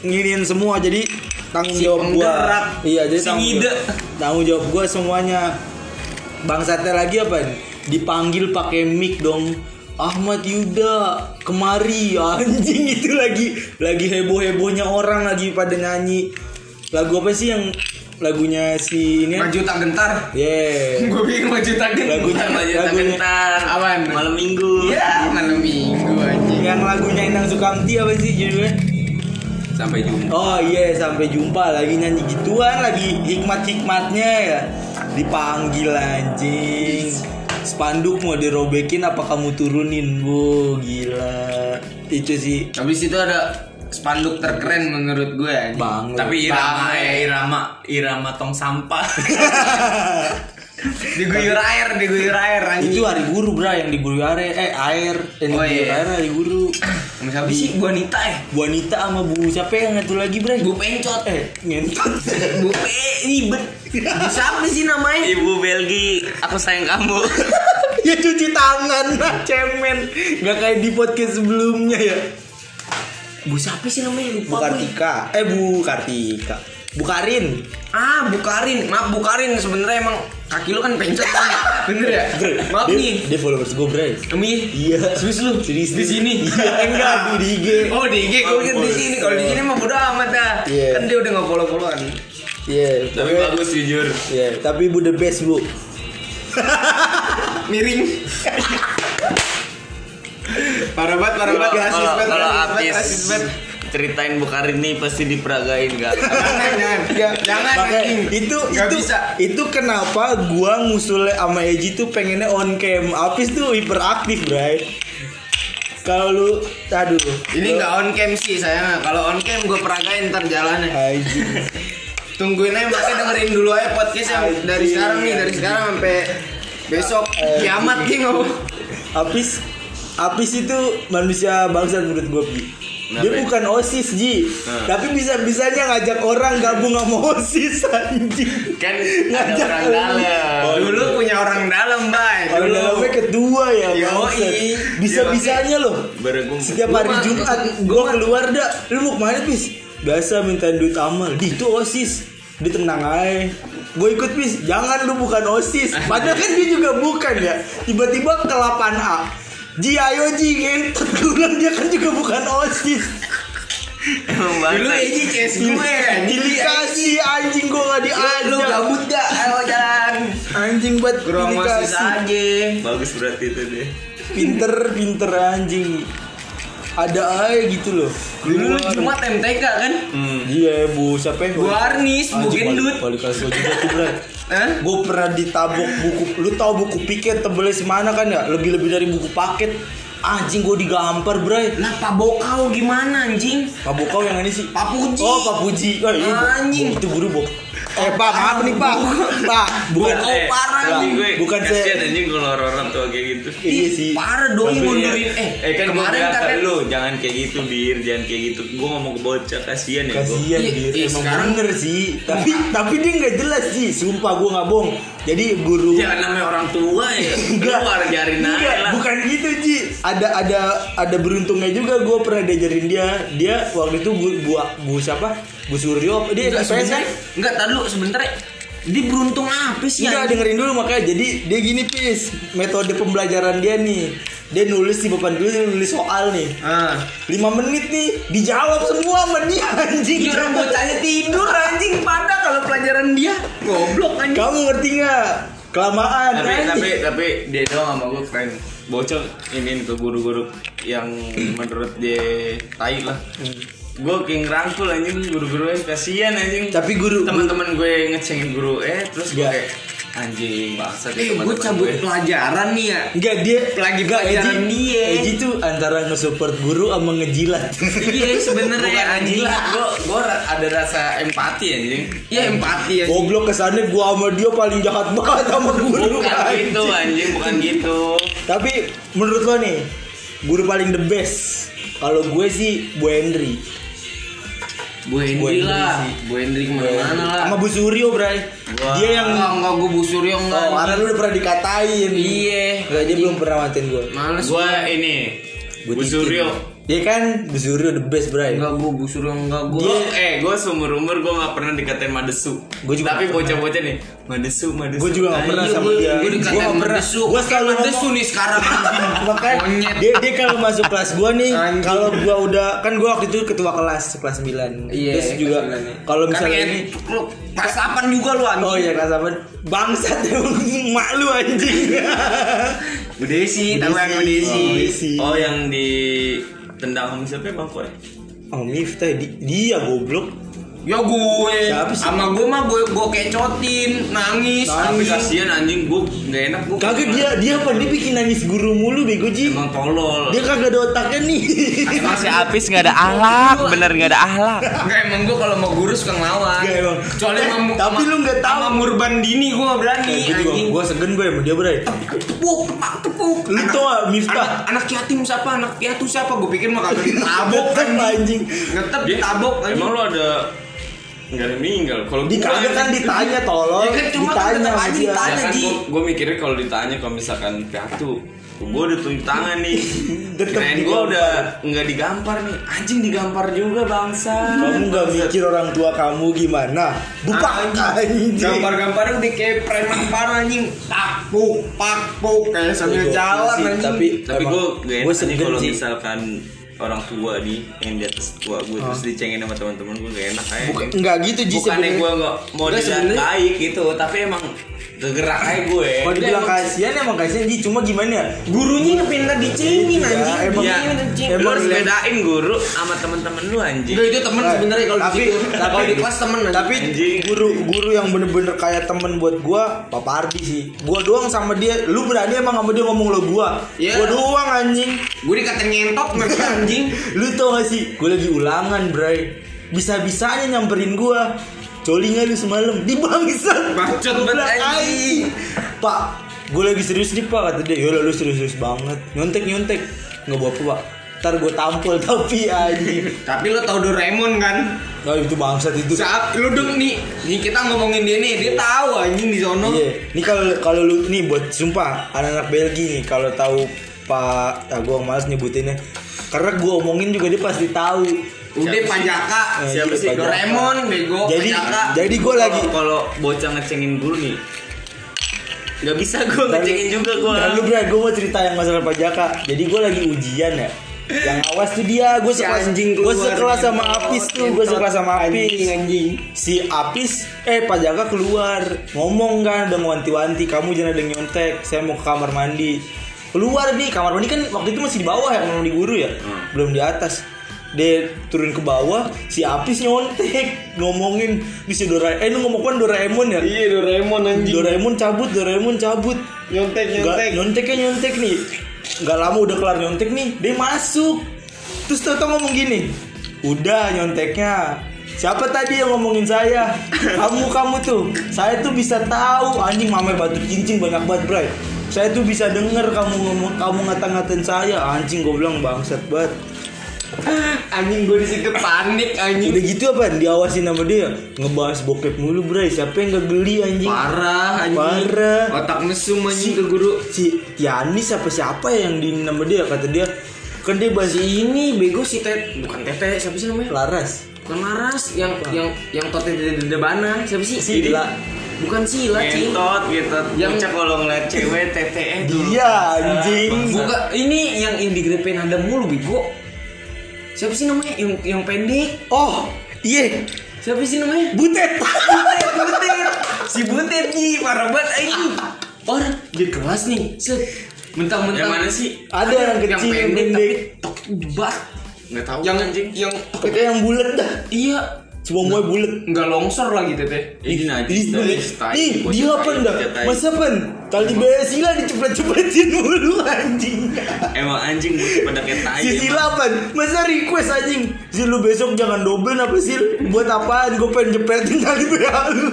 nginin semua jadi tanggung Si jawab gue penggerak, iya jadi si tanggung ngide. jawab, tanggung jawab gue semuanya bangsatnya lagi apa nih dipanggil pakai mic dong Ahmad Yuda kemari anjing itu lagi lagi heboh hebohnya orang lagi pada nyanyi lagu apa sih yang lagunya si ini Maju tak gentar. yeah Gua bingung maju tak gentar. Lagunya- Ntar maju tak Lagunya- kentar Apaan? malam minggu Iya. Ya, malam minggu anjing. yang lagunya Inang Sukamti apa sih judulnya sampai jumpa Oh iya sampai jumpa lagi nyanyi gituan lagi hikmat-hikmatnya ya dipanggil anjing spanduk mau dirobekin apa kamu turunin bu gila itu sih Habis itu ada spanduk terkeren menurut gue anjing. Bang, tapi irama Bang. ya irama irama tong sampah diguyur air, diguyur air anjing. itu hari guru bra yang diguru air eh air yang Oh, diguru iya. air hari guru Sama siapa sih? Bu Anita ya? wanita sama bu siapa yang satu lagi bra Bu Pencot eh ngentot Eh, Bu Pe ribet Siapa sih namanya? ibu Belgi aku sayang kamu ya cuci tangan lah cemen nggak kayak di podcast sebelumnya ya Bu siapa sih Bu namanya? Lupa gue. Kartika eh Bu Kartika Bu Karin Ah, Bu Karin. Maaf Bu Karin, sebenarnya emang kaki lu kan pencet kan? ya? Bener ya? Bre, Maaf dia, nih. dia followers gue bray Kami iya Serius lu? Serius lu? Di sini? Iya, enggak, di- di IG. Oh, di IG. Gue kan di sini. Kalau di sini mah bodo amat dah. Iya. Kan dia udah nggak follow-followan. iya tapi pokoknya- bagus jujur iya tapi Bu the best Bu Miring. parah banget, parah banget. kalau Rasis kalau- banget, kalau rasis banget, artis rasis banget. ceritain Bukarin nih pasti diperagain gak Jangan, jangan. Iya, Jangan, Makanya anjing. Iya. itu Nggak itu bisa. itu kenapa gua ngusul sama Eji tuh pengennya on cam. Apis tuh hiperaktif, Bray. Kalau lu aduh. Ini nggak on cam sih sayang. Kalau on cam gue peragain ntar jalannya. Anjing. Tungguin aja makanya dengerin dulu aja podcast yang Anjing. dari sekarang nih dari sekarang sampai besok Eh, kiamat nih ngomong. Apis Apis itu manusia bangsa menurut gue Pi. Dia Kenapa? bukan OSIS Ji, tapi bisa-bisanya ngajak orang gabung sama OSIS anjing. kan ada Ngajak orang lu. dalam Oh, Dulu punya orang dalam bay. Orang dalamnya kedua ya, Yoi. bangsat. Bisa-bisanya loh. bergum Setiap Gua hari mah- Jumat gua keluar dah. Lu mau kemana, Pis? Biasa minta duit amal. Di itu OSIS. Dia tenang aja. Gue ikut bis, jangan lu bukan OSIS. Padahal kan dia juga bukan ya. Tiba-tiba ke 8A. Ji ayo Ji ngentot Gua bilang dia kan juga bukan OSIS. emang Dulu banget ini CS gue kan. Dikasih anjing gua gak diajak. Lu gabut gak? Ayo jalan. Anjing buat Kurang masih dikasih. aja. bagus berarti itu deh Pinter pinter anjing. Ada aja gitu loh. Dulu lu Keluar. Jumat MTK kan? Hmm. Iya bu, siapa yang Bu Arnis, Bu Anjing, Gendut. balik- Ah, Balik kelas gua juga tuh Bray. Hah? Gue pernah ditabok buku, lu tau buku piket tebelnya semana kan ya? Lebih-lebih dari buku paket. Anjing gue digampar bray. Lah Pak Bokau gimana anjing? Pak Bokau yang ini sih. Pak Puji. Oh Pak Puji. Eh, ini bo- Anjing. bo- Itu guru bok. eh pak maaf nih pak pak Eh. Bukan Oh, parah, anjing anjing. gue. Bukan, se- kasihan anjing kalau orang-orang tua kayak gitu. iya sih Parah doi mundurin eh, eh kan kemarin kemarin kan kan lu jangan kayak gitu bir, jangan kayak gitu. Gue ngomong ke bocah kasihan ya gue. kasihan Iya, dia iya, emang sekarang- bener sih tapi tapi dia nggak jelas sih sumpah gue nggak bohong jadi guru Ya kan namanya orang tua ya. Enggak. Keluar jarin aja Enggak, lah. bukan gitu Ji ada ada ada beruntungnya juga gue pernah diajarin dia dia waktu itu bu bu, bu siapa bu Suryo dia Enggak SPS kan sebenarnya enggak tar lu sebentar dia beruntung apa sih Enggak anjing? dengerin dulu makanya jadi dia gini pis metode pembelajaran dia nih dia nulis di papan tulis dia nulis soal nih Ah. 5 menit nih dijawab semua sama dia anjing Iya orang bocahnya tidur anjing pada kalau pelajaran dia goblok anjing. kamu ngerti nggak kelamaan tapi anjing. tapi tapi dia doang sama gue keren bocor ini ke guru-guru yang menurut dia tai lah Hmm. gue kayak ngerangkul anjing guru-guru yang kasihan anjing Tapi guru- teman-teman gue ngecengin guru eh terus gue Nggak. kayak anjing bangsa Eh gue cabut pelajaran nih ya. Enggak dia Lagi enggak, pelajaran Eji- dia. Eji tuh antara nge-support guru sama ngejilat. Iya Bukan sebenarnya anjing. anjing lah, gue gue ada rasa empati anjing. Iya. Ya empati ya. Goblok kesannya gua sama dia paling jahat banget sama guru. Bukan anjing. gitu anjing, bukan gitu. Tapi menurut lo nih, guru paling the best. Kalau gue sih Bu Hendry. Bu Bu Hendri Hendri lah. sih. Bu Hendri kemana-mana lah. Sama Bu Suryo, Bray. Dia yang enggak enggak gue busur yang enggak. Oh, karena lu udah pernah dikatain. Iya. Enggak, dia belum pernah matiin gue. Males. Gue ini Bu Titin. Suryo. Dia kan Bu Suryo the best, Bray. Enggak gue busur yang enggak Iya, gue. Gue eh gue seumur umur gue nggak pernah dikatain madesu. Iya. Gua juga Tapi nggak bocah-bocah nih madesu madesu. Gue juga gak Ayo, pernah Iya, sama gua- dia. gua dikatain Gua nggak pernah. mendesu. Gue selalu Mendesu nih sekarang. Makanya Monyet. dia, dia kalau masuk kelas gua nih, Anjing. kalau gua udah kan gua waktu itu ketua kelas kelas 9. Terus juga kalau misalnya ini lu pas 8 juga lu anjing. Oh iya kelas 8 bangsat mak lu anjing. Bu Desi, tahu yang Oh, Bu Desi. Desi. Oh yang di tendang sama siapa ya bang Koy? Oh, Miftah di- dia goblok. Ya gue, Siapa sih? Nah. sama gue mah gue gue kecotin, nangis, Tapi Nangis. nangis. kasihan anjing gue nggak enak gue. Kagak dia dia apa dia bikin nangis guru mulu bego Ji. Emang tolol. Dia kagak ada otaknya nih. Emang si Apis nggak ada ahlak, bener nggak ada ahlak. Enggak emang gue kalau mau guru suka ngelawan. Enggak, emang. Kecuali Eh, sama tapi sama- lu nggak tahu. Sama Murban Dini gue nggak berani. Gue juga anjing. gua segen gue sama dia bray. Tepuk, tepak, tepuk. Lu Anak- tau gak Miftah? Anak, anak yatim siapa? Anak piatu siapa? Gue pikir mah kagak ditabok Abok kan. anjing. Ngetep Iya. ditabok anjing. Emang lo ada nggak ada meninggal? Kalau Di gua- kagak kan ditanya tolong. Ya kan, cuma kan ditanya tetep sama aja dia. ditanya. Ya kan Ji. gue mikirnya kalau ditanya kalau misalkan kartu gue udah tunjuk tangan nih Tetep kirain gue digampar. udah nggak digampar nih anjing digampar juga bangsa Kamu nggak mikir orang tua kamu gimana? Buka anjing. Gambar-gambarnya udah kayak preman parah anjing. Pakpuk, pakpuk kayak sambil Bego, jalan masih, anjing. tapi- tapi gue gak Gua enak nih segen, kalau Ji. misalkan orang tua nih yang di atas tua gue terus dicengin sama teman-teman gue gak enak eh. kayak Bukan enggak gitu Ji bukannya sebenarnya. gue nggak mau Nggak, dilihat sebenarnya- baik gitu tapi emang kegerak aja gue Kalau dibilang kasihan emang kasihan Ji, cuma gimana ya? Gurunya pindah dicengin Iya, anjing. emang- ya, Dicengin, dicengin. lu Emang harus relate. bedain guru sama teman-teman lu anjing Enggak itu temen sebenarnya kalau di Nah, Tapi- situ. Nah, Kalau di kelas temen anjing. Tapi Anjing. guru guru yang bener-bener kayak temen buat gua, Papa Ardi sih. Gua doang sama dia. Lu berani emang sama dia ngomong lo gua. Iya. Gua doang anjing. gue dikata nyentot mereka kan, anjing. Lu tau gak sih? Gua lagi ulangan, Bray. Bisa-bisanya nyamperin gua. Coli nggak lu semalam? Di bangsat. Bacot banget, Bilang, "Ai, anjing. Pak, gue lagi serius nih pak kata dia. Yolah lu serius-serius banget. Nyontek nyontek. Nggak apa-apa pak. Ntar gue tampil tapi anjing. Tapi lo tau Doraemon kan? Nah itu bangsat itu. Saat lu deng nih, nih kita ngomongin dia nih, dia tahu anjing di sono. Iya. Nih kalau kalau lu nih buat sumpah anak-anak Belgia nih kalau tahu Pak, ah, gue malas nyebutinnya. Karena gue omongin juga dia pasti tahu. Udah Siapa sih? Panjaka, Eh, Siapa iya, sih? Pak Jaka. Doraemon, bego, Jadi Panjaka. jadi gue lagi Kalau- kalau bocah ngecengin guru nih nggak bisa gue ngecengin juga gue Lalu bro, gue mau cerita yang masalah pajaka. Jadi gue lagi ujian ya. Yang awas tuh dia, gue Si sekelas, anjing gue keluar, sekelas sama nyentot, Apis tuh, gue nyentot. sekelas sama Anjing, Apis. anjing. Si Apis, eh pajaka keluar, ngomong kan, udah wanti-wanti, kamu jangan ada yang nyontek, saya mau ke kamar mandi. Keluar nih, kamar mandi kan waktu itu masih di bawah ya, belum di guru ya, belum di atas. Dia turun ke bawah, si Apis nyontek, ngomongin di si Doraemon, eh lu ngomong kan Doraemon ya? Iya Doraemon Doraemon cabut, Doraemon cabut. Nyontek Nggak, nyonteknya nyontek nih nggak lama udah kelar nyontek nih dia masuk terus Toto ngomong gini udah nyonteknya Siapa tadi yang ngomongin saya? Kamu kamu tuh. Saya tuh bisa tahu anjing mamer batu cincin banyak banget, Bray. Saya tuh bisa denger kamu ngomong kamu ngata-ngatain saya. Anjing goblok bangsat banget. Ah, anjing gue di situ panik anjing Udah gitu apa? Diawasin sama dia. Ngebahas bokep mulu, Bray. Siapa yang gak geli anjing? parah anjing Parah. otak mesum anjing ke guru si Yanis apa siapa yang di nama dia kata dia kan dia bahas ini bego si tete bukan tete siapa sih namanya Laras bukan laras yang yang yang tote dede dede bana siapa sih Sila. bukan sila cing Ngentot gitu. Yang- Yang kalau ngeliat cewek TTE dia dulu. Iya, anjing bukan ini yang yang digrepein ada mulu bego siapa sih namanya yang yang pendek oh iya siapa sih namanya butet Butet, butet. Si butet nih, parah banget anjing. Orang di kelas nih, set. Mentang-mentang Yang mana sih? Ada yang kecil, yang pendek, pendek. tapi tok bar. Nggak tahu Yang anjing. yang kita yang bulet dah iya, semua mau bulet nggak longsor lagi teteh. Ini najis Ih, dari ih, dia apa enggak? Masa apa? Tali besila dicepet-cepetin mulu anjing. Emang anjing gue pada kayak tai. Si Sila apa? Masa request anjing? Si lu besok jangan dobel apa sih? Buat apaan? Gue pengen jepetin tali BH lu.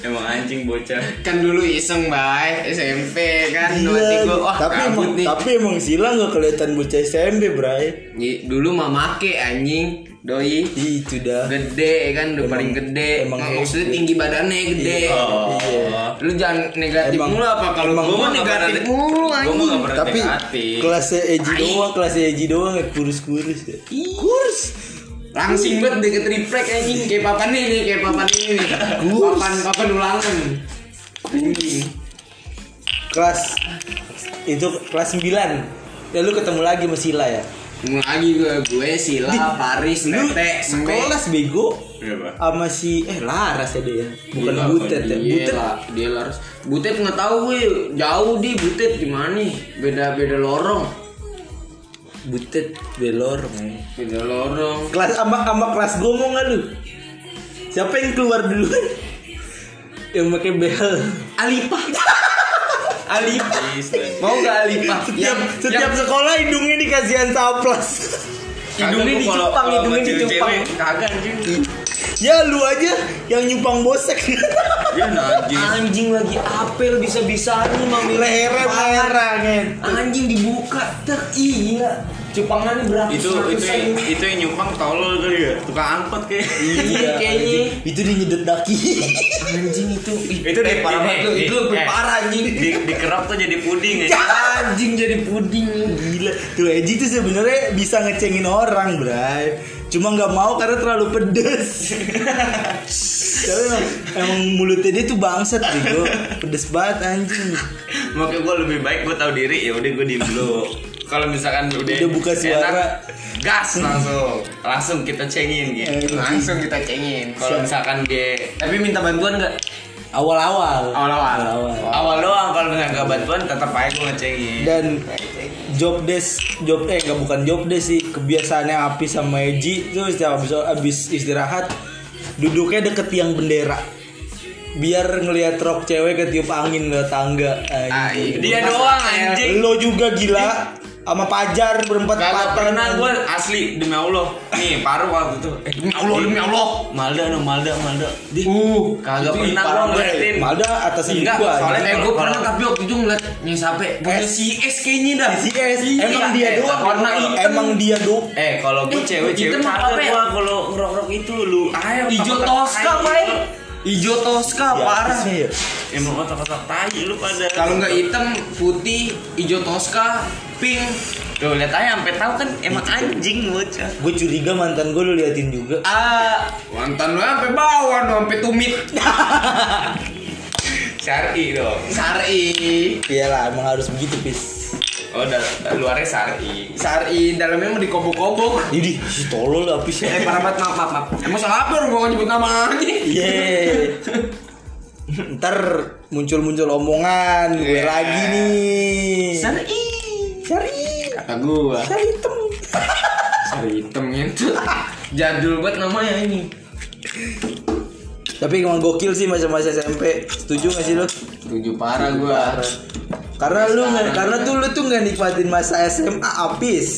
Emang anjing bocah. Kan dulu iseng, Bay, SMP kan. Gila. Iya, tapi emang, tapi emang Sila nggak kelihatan bocah SMP, Bray. Dulu mamake anjing, doi. Ih, Itu dah. gede kan udah paling gede emang Mak- iya. maksudnya tinggi badannya gede Oh. lu jangan negatif Emang- mulu apa kalau emang gua Gua mah nggak pernah- negatif mulu Gua mah nggak anjing pernah Tapi negatif. kelasnya Eji Tai. doang, kelasnya Eji doang ya kurus-kurus ya. Kurus. langsing banget deket triplek anjing kayak papan ini nih kayak papan ini nih papan papan ulangan anjing Kelas itu kelas 9. Ya lu ketemu lagi sama Sila ya. Ngomong lagi gue gue Sila Di- Paris Lu Tete Sampe sekolah bego Iya, Pak. sama si eh Laras ya dia. Bukan Gila, Butet ya. Iya, Butet lah, dia harus Butet nggak tahu gue jauh di Butet gimana nih beda beda lorong Butet belor. men. beda lorong Kelas sama sama kelas gue mau nggak lu? Siapa yang keluar duluan? yang pakai bel. Alipah Alipah Mau gak Alipah? Setiap Iya, setiap sekolah hidungnya dikasihan saplas. hidungnya dicupang, hidungnya dicupang. Kagak anjing. ya lu aja yang nyumpang bosek. Ya najis. Anjing lagi apel bisa-bisanya mami Lehernya merah kan. Anjing dibuka ter Ih, gila. Cupangannya berapa? Itu itu seratusan. yang, itu yang nyumpang tolol kali ya. Tukang angkot kayak. Iya, kayaknya. Itu dia nyedot daki. Anjing itu ih, Itu eh, di- parah di- banget lu. di- Itu lebih eh. parah anjing. Di dikerap tuh jadi puding ya. Anjing jadi puding. Gila, tuh Eji tuh sebenarnya bisa ngecengin orang, Bray. Cuma nggak mau karena terlalu pedes. Tapi emang, emang mulutnya dia tuh bangsat bego. Pedes banget anjing. Makanya gue lebih baik gue tahu diri ya udah gue diem dulu. Kalau misalkan udah, Udah buka suara. gas langsung, langsung kita cengin Eh, gitu. Langsung kita cengin. Kalau misalkan dia Tapi minta bantuan enggak? Awal-awal. Awal-awal. awal doang kalau misalkan nggak bantuan tetap aja gue ngecengin. Dan job desk job eh nggak bukan job desk sih kebiasaannya api sama Eji tuh setiap abis, abis istirahat duduknya deket tiang bendera biar ngelihat rok cewek ketiup angin lewat tangga Ah, anjing. Dia iya. doang anjing. lo juga gila sama pajar berempat Kagak patah. pernah gue asli demi Allah. Nih paru waktu itu. Eh, Demi Allah, demi Allah. Malda no Malda Malda. Di. Uh, kagak itu pernah parah gue banget. ngeliatin. eh, Malda atasan Enggak, gua, soalnya Eh, gue kalau- pernah kalau- tapi waktu itu ngeliat yang sampai punya si S kayaknya dah. Si S, emang dia eh, doang warna hitam. emang dia doang Eh kalau gue Eh, cewek hitam cewek apa kagak apa ya? gue kalau ngerok-ngerok itu lu. Ayo Ijo otak-otak Tosca, Iya, tai. Bay. Ijo Tosca Iya, Ya, parah. abisnya ya. Emang otak-otak tai lu pada. Kalau nggak hitam, putih, ijo Tosca, pink. Tuh lihat aja sampai tahu kan emang Iya. anjing bocah. gue curiga mantan gue lu liatin juga Ah, mantan lu sampai bawah, dong, sampai tumit. Syari dong. Sari, iyalah Iya emang harus begitu pis Oh, dan luarnya syari. sari dalamnya mau dikobok-kobok. jadi si tolol lah pis Eh, parah banget, maaf, maaf, maaf. Emang salah apa orang gua nggak nyebut nama aja? Yeay Iya. ntar muncul-muncul omongan gue Iya. lagi nih Sari, cari kata Nah, gua. cari hitam Sari hitam itu jadul banget namanya ini. tapi emang gokil sih masa-masa SMP setuju gak sih lu Setuju parah ah, gua. karena lu nggak karena tuh lu tuh nggak nikmatin masa SMA apis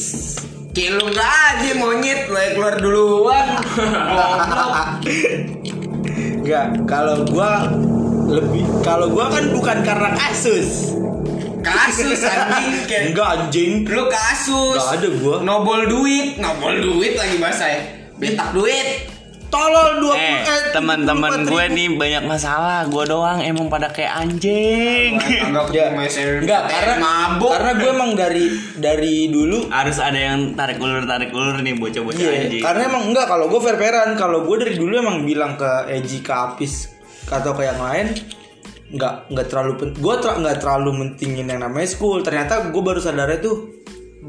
Cilung aja monyet, lo yang keluar duluan. Goblok. Enggak, kalau gua lebih kalau gua kan bukan karena kasus. kasus anjing kayak Enggak anjing. lu kasus. Nggak ada gua. Nobol duit, nobol duit lagi bahasa ya. Betak duit. Tolol 20 Eh, teman-teman gue nih banyak masalah. Gue doang emang pada kayak anjing. Enggak Enggak, karena mabuk. karena gue emang dari dari dulu Harus ada yang tarik ulur tarik ulur nih bocah-bocah Iya, anjing. karena emang enggak kalau gue fair fairan kalau gue dari dulu emang bilang ke Eji ke Apis atau ke yang lain nggak nggak terlalu pen- gue ter- nggak terlalu mentingin yang namanya school ternyata gue baru sadar tuh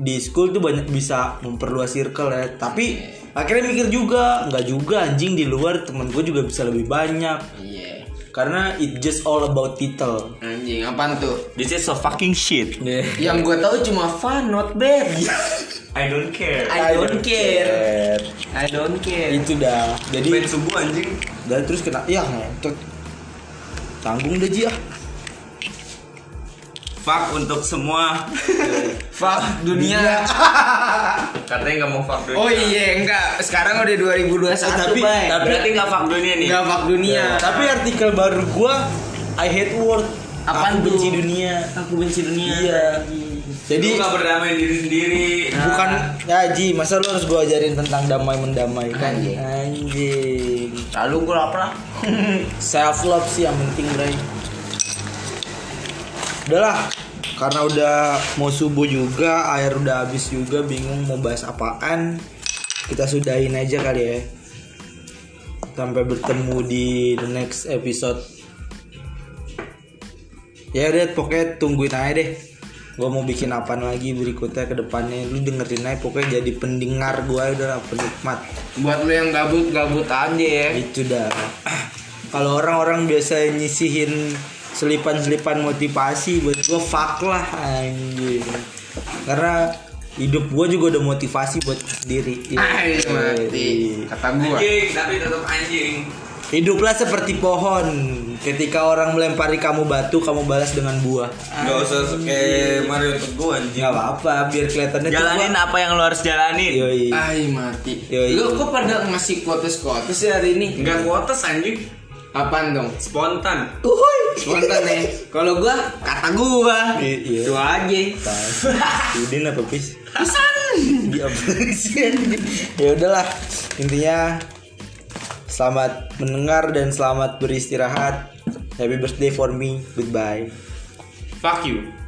di school tuh banyak bisa memperluas circle ya tapi akhirnya mikir juga nggak juga anjing di luar temen gue juga bisa lebih banyak Iya. karena it just all about title Anjing, apaan tuh? This is so fucking shit. Yang gue tahu cuma fun, not bad. I don't care. I don't care. I don't care. itu dah jadi subuh anjing dan terus kena ya ngentot. tanggung deh Ji ah. Fuck untuk semua. Fuck dunia. katanya nggak mau fuck dunia Oh iya, enggak. Sekarang udah 2021, Eh, tapi- Bay. tapi- Berarti nggak fuck dunia nih. enggak fuck dunia. Tapi artikel baru gua I hate world. Apaan Aku benci tuh? dunia. aku benci dunia. Iya. jadi Jadi nggak berdamai diri sendiri bukan Nah, ya Ji, masa lu harus gua ajarin tentang damai mendamaikan Anjing. anjing. Lalu gue lapar. Self love sih yang penting, Bray. Udahlah, karena udah mau subuh juga, air udah habis juga, bingung mau bahas apaan. Kita sudahin aja kali ya. Sampai bertemu di the next episode. Ya deh, pokoknya tungguin aja deh. Gue mau bikin apaan lagi berikutnya ke depannya. Lu dengerin aja pokoknya jadi pendengar gue udah penikmat. Buat lo yang gabut-gabut aja ya. Itu dah. Kalau orang-orang biasa nyisihin selipan-selipan motivasi buat gue fuck lah anjing. Karena hidup gue juga udah motivasi buat sendiri. Ay, mati. Kata gue. anjing tapi tetap anjing Hiduplah seperti pohon. Ketika orang melempari kamu batu, kamu balas dengan buah. Ya nggak usah kayak Mario teguh anjing Nggak apa-apa, biar kelihatannya tuh Jalanin gua- apa yang lo harus jalanin. Yoi. Ay mati. Yo, yo. Lu kok pada ngasih quotes-quotes sih hari ini? nggak kuotas anjing Apaan dong? spontan Uhuy. Spontan ya. Kalau gua kata gua. I- iya. Itu aja. Tai. Udin apa pis? Pesan. Dia berisian. ya udahlah intinya selamat mendengar dan selamat beristirahat happy birthday for me goodbye fuck you